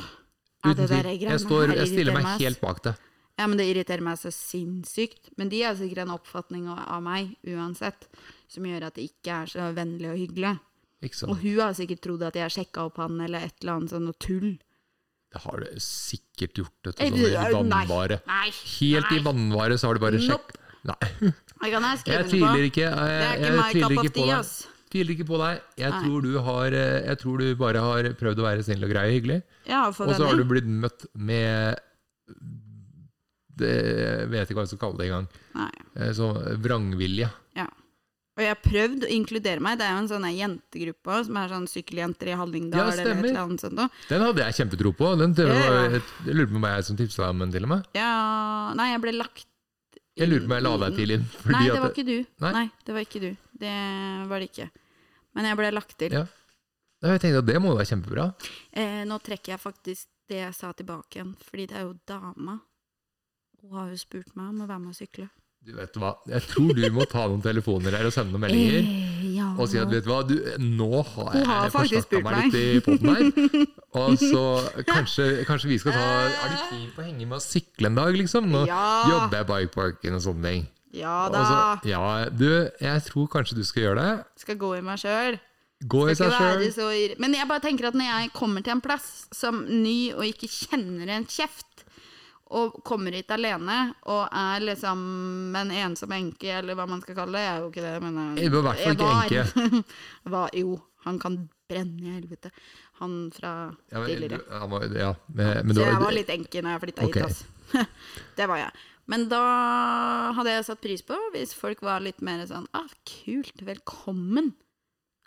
S2: Ja, det
S1: Uten
S2: der
S1: tvil.
S2: er greiene
S1: jeg, står,
S2: her
S1: jeg stiller
S2: irriterer
S1: meg
S2: meg, ass.
S1: helt bak det.
S2: Ja, men det irriterer meg så sinnssykt. Men de har sikkert en oppfatning av- av meg uansett, som gjør at det ikke er så vennlig og hyggelig.
S1: Ikke
S2: Og
S1: sant?
S2: hun har sikkert trodd at jeg sjekka opp han eller et eller annet sånn noe tull.
S1: Det har du sikkert gjort. Vet du,
S2: Eh,
S1: sånn, i
S2: nei,
S1: vannvare.
S2: Nei,
S1: Helt i
S2: nei.
S1: vannvare så har du bare sjekk.
S2: Nope.
S1: Nei,
S2: Det kan jeg skrive
S1: jeg
S2: under
S1: tviler
S2: på.
S1: ikke.
S2: Det
S1: Jeg,
S2: er
S1: jeg,
S2: ikke my
S1: tviler
S2: cup
S1: ikke
S2: of
S1: på
S2: tea,
S1: deg.
S2: ass.
S1: Tviler ikke på deg. Jeg
S2: Nei.
S1: tror, du har, eh, jeg tror du bare har prøvd å være snill og grei og hyggelig,
S2: Ja, for
S1: og så har du
S2: venner.
S1: blitt møtt med det, Jeg vet ikke hva jeg skal kalle det engang.
S2: Nei.
S1: Eh, Så vrangvilje.
S2: Og jeg har prøvd å inkludere meg. Det er jo en sånn her jentegruppe også, som er sånn sykkeljenter i Hallingdal
S1: Ja,
S2: eller et
S1: stemmer.
S2: eller annet sånt noe.
S1: Den hadde jeg kjempetro på. Den,
S2: Ja, ja.
S1: jeg, jeg lurer på om det var jeg som tipsa om den, til og med.
S2: Ja Nei, jeg ble lagt
S1: Jeg lurer på om jeg la
S2: i
S1: deg
S2: den.
S1: til inn. Fordi
S2: Nei, det
S1: at-
S2: var ikke du.
S1: Nei?
S2: Nei? det var ikke du. Det var det ikke. Men jeg ble lagt til.
S1: Ja. Nei, jeg tenkte at det må jo være kjempebra.
S2: Eh, nå trekker jeg faktisk det jeg sa tilbake igjen, fordi det er jo dama. Hun har jo spurt meg om å være med og sykle.
S1: Du vet hva, Jeg tror du må ta noen telefoner her og sende noen meldinger.
S2: Eh, ja.
S1: Og si at vet du hva, du, nå har
S2: Hun
S1: jeg
S2: har faktisk
S1: forsnakka
S2: spurt
S1: meg litt i poden her.
S2: [LAUGHS]
S1: Og så kanskje, kanskje vi skal ta Er du keen på å henge med og sykle en dag, liksom? Nå
S2: Ja. Ah.
S1: jobber jeg i bikeparken og sånne ting.
S2: ja
S1: Og
S2: da.
S1: så, ja, du, jeg tror kanskje du skal gjøre det.
S2: Skal gå i meg sjøl.
S1: Gå i seg sjøl.
S2: Men jeg bare tenker at når jeg kommer til en plass som ny og ikke kjenner en kjeft, og kommer hit alene og er liksom en ensom enke, eller hva man skal kalle det. Jeg er jo ikke det, men
S1: Jeg var i hvert fall
S2: [LAUGHS]
S1: ikke
S2: enke. var, jo, han kan brenne i helvete. Han fra
S1: Ja, men,
S2: tidligere.
S1: du- han var- ja, men, men du
S2: Så jeg var
S1: var
S2: litt enke når jeg flytta
S1: Ok.
S2: hit, altså. [LAUGHS] det var jeg. Men da hadde jeg satt pris på hvis folk var litt mer sånn ah, kult, velkommen.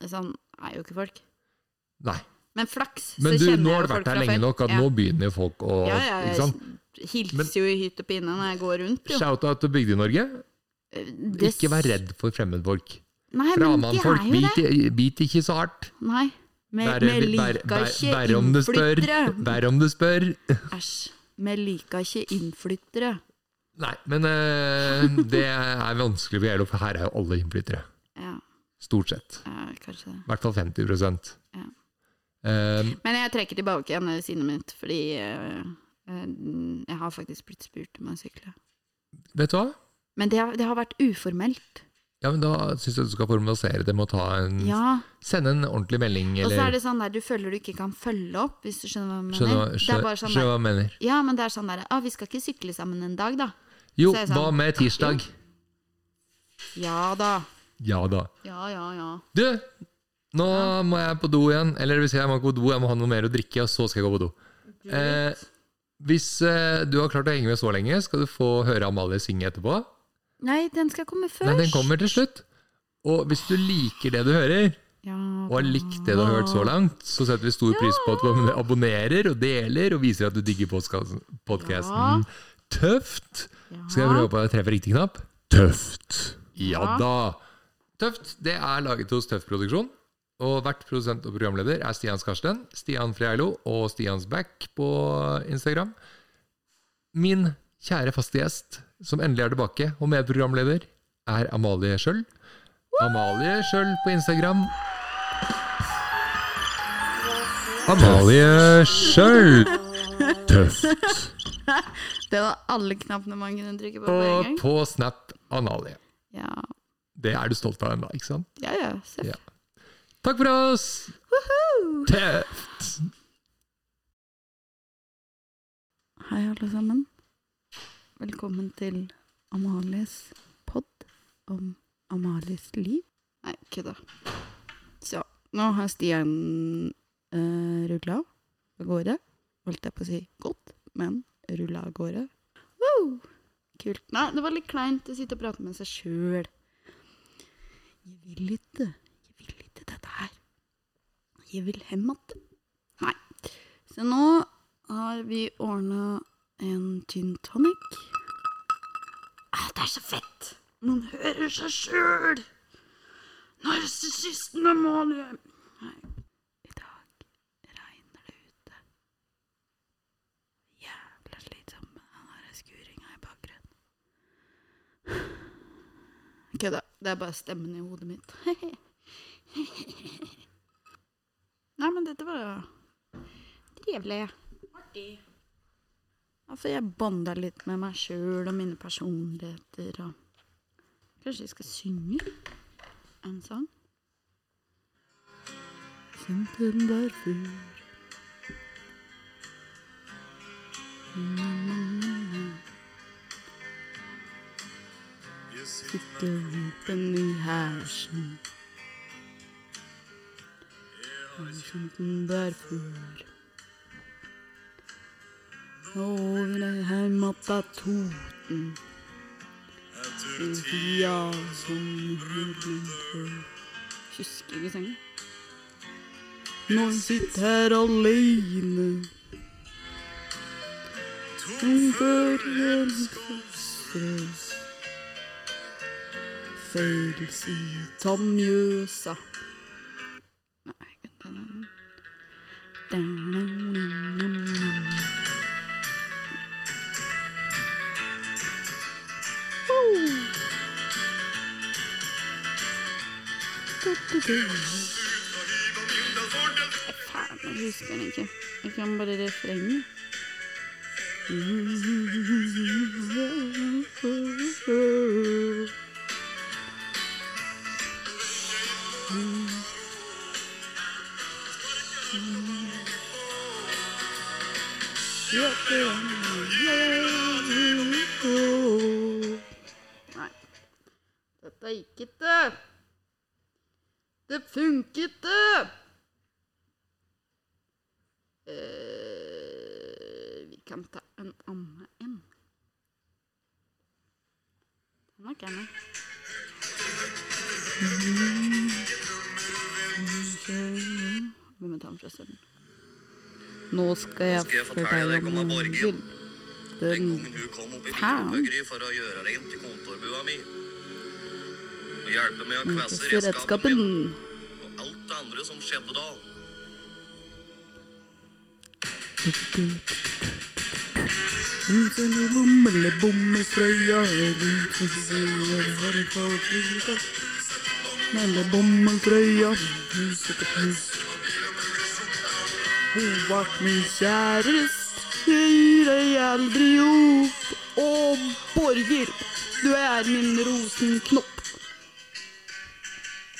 S2: Sånn er jo ikke folk.
S1: Nei.
S2: Men flaks,
S1: Men
S2: så
S1: du,
S2: kjenner
S1: nå
S2: jeg
S1: har
S2: jo
S1: du vært
S2: folk
S1: her
S2: fra
S1: lenge
S2: før.
S1: nok at
S2: ja.
S1: nå begynner folk å
S2: ja, ja,
S1: ikke sant?
S2: Jeg hilser
S1: Men-
S2: jo i hytt og pinne når jeg går rundt, jo.
S1: Shout-out til Bygde-Norge.
S2: Det-
S1: Ikke vær redd for fremmedfolk.
S2: Nei, men de
S1: Framandfolk,
S2: er jo det.
S1: bit, bit ikke så hardt.
S2: Nei. Vi
S1: Vær-
S2: vi
S1: vær-
S2: liker
S1: vær-
S2: ikke
S1: vær om du spør.
S2: innflyttere.
S1: [LAUGHS] Vær om du spør.
S2: Æsj. Vi liker ikke innflyttere.
S1: Nei, men eh, det er vanskelig å gjøre, for her er jo alle innflyttere.
S2: Ja,
S1: Stort sett.
S2: ja, kanskje det.
S1: I hvert fall 50
S2: Ja.
S1: Eh,
S2: Men jeg trekker tilbake igjen det sinnet mitt, fordi eh, eh, jeg har faktisk blitt spurt om å sykle.
S1: vet du hva?
S2: Men det har, det har vært uformelt.
S1: Ja, men Da syns jeg du skal formalisere det med å ta en,
S2: Ja.
S1: sende en ordentlig melding.
S2: Og så er
S1: Mm. Eller,
S2: det sånn der du føler du ikke kan følge opp, hvis du skjønner hva jeg mener.
S1: skjønner hva-
S2: det er
S1: skjø-
S2: bare sånn
S1: skjønner
S2: der,
S1: hva jeg mener.
S2: ja, men det er sånn der ah, Vi skal ikke sykle sammen en dag, da.
S1: Jo,
S2: Så er det
S1: hva
S2: sånn-
S1: med tirsdag?
S2: Ja da.
S1: Ja da.
S2: Ja, ja, ja.
S1: Du, nå må jeg på do igjen. Eller det vil si, jeg må ikke på do, jeg må ha noe mer å drikke, og så skal jeg gå på do. Eh, hvis eh, du har klart å henge med så lenge, skal du få høre Amalie synge etterpå.
S2: Nei, den skal komme først.
S1: Nei, den kommer til slutt. Og hvis du liker det du hører,
S2: Ja,
S1: og har likt det du har hørt så langt, så setter vi stor pris på at du abonnerer og deler og viser at du digger podkasten. Tøft! sånn. Skal jeg prøve på å treffe riktig knapp? Tøft! Ja
S2: Ja.
S1: da! Tøft det er laget hos Tøff Produksjon. Og hvert produsent og programleder er Stian Skarsten, Stian Freilo og Stians Back på Instagram. Min kjære faste gjest, som endelig er tilbake, og medprogramleder, er Amalie Schjøll. Amalie Schjøll på Instagram. Amalie Schjøll! Tøft!
S2: Det var alle knappene man kunne trykke [LAUGHS] på på en
S1: Og
S2: gang.
S1: på Snap Analie.
S2: Ja,
S1: Det er du stolt av ennå, ikke sant?
S2: ja, ja. Seff.
S1: Ja. Takk for oss! Tøft!
S7: Hei, alle sammen. Velkommen til Amalies pod om Amalies liv.
S2: Nei, kødda. Så, nå har Stian uh, rulla av gårde. Holdt jeg på å si godt, men rulla av gårde. Woo! Kult. Nei, det var litt kleint å sitte og prate med seg sjøl. Jeg vil ikke. Jeg vil ikke dette her. Jeg vil hjem att. Nei. Så nå har vi ordna en tynn tonic. Ah, det er så fett! Man hører seg sjøl! Narsissisten Amalie! Nei. I dag regner det ute. Jævla slitsom med den der skuringa i bakgrunnen. Kødda. Det er bare stemmen i hodet mitt. [LAUGHS] Nei, men dette var trivelig. Artig. Ja, for Altså, jeg bonda litt med meg sjøl og mine personligheter og Kanskje jeg skal synge? en sang. Kjente den der før. Na, na, na, na. Sitter hopen i hersen. Har du kjent den der før? Over ei heimatt av Toten. En tida som rullet før. Husker ikke sangen. Nå sitter her alene. Hun bør hjelpes. Feils i Tamjøsa. Nei, jeg kan ikke den. Faen, jeg husker den ikke. Jeg kan bare refrenget. Nei. Dette gikk ikke. Det funket, det! Eh, vi kan ta en annen en. Den er ikke med. Mm. Vi må ta den fra starten. Nå skal jeg,
S8: skal jeg fortelle deg om Borgen. Den
S2: Den
S8: gangen hun kom opp i
S2: Faen.
S8: Filmbøgry for å gjøre rent i kontorbua mi. Og hjelpe med å kvesse
S2: beste redskapen.
S8: redskapen min og alt det andre som skjedde da.
S2: tobakk, min kjæreste. Jeg gir deg aldri opp. Å, Borger, du er min rosenknopp.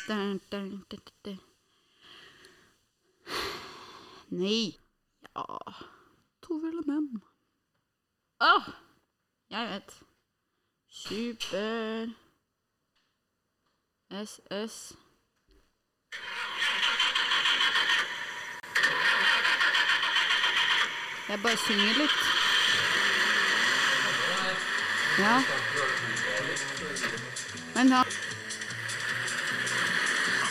S2: Dun, dun, dun, dun, dun. Nei. Ja To ville menn. Åh! Jeg vet. Super SS Jeg bare synger litt. Ja. Men da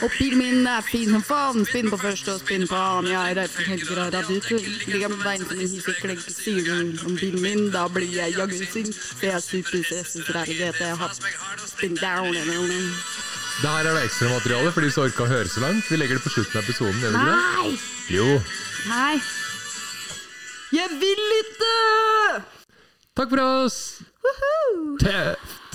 S2: Og bilen min er fin som faen. Spinn på første og spinn på annen. Jeg er redd for kjelker og radiator. Ligger med bein som en hissig klenk. Sier du om bilen min, da blir jeg jaggu sint. Det er super stresset der i GT. Hatt spinn down and down.
S1: Det her er det ekstramateriale for de som orka å høre så langt. Vi legger det på slutten av episoden. gjør vi ikke det?
S9: Nei!
S1: Jo.
S9: Nei.
S2: Jeg vil ikke!
S1: Takk for oss! Tøft!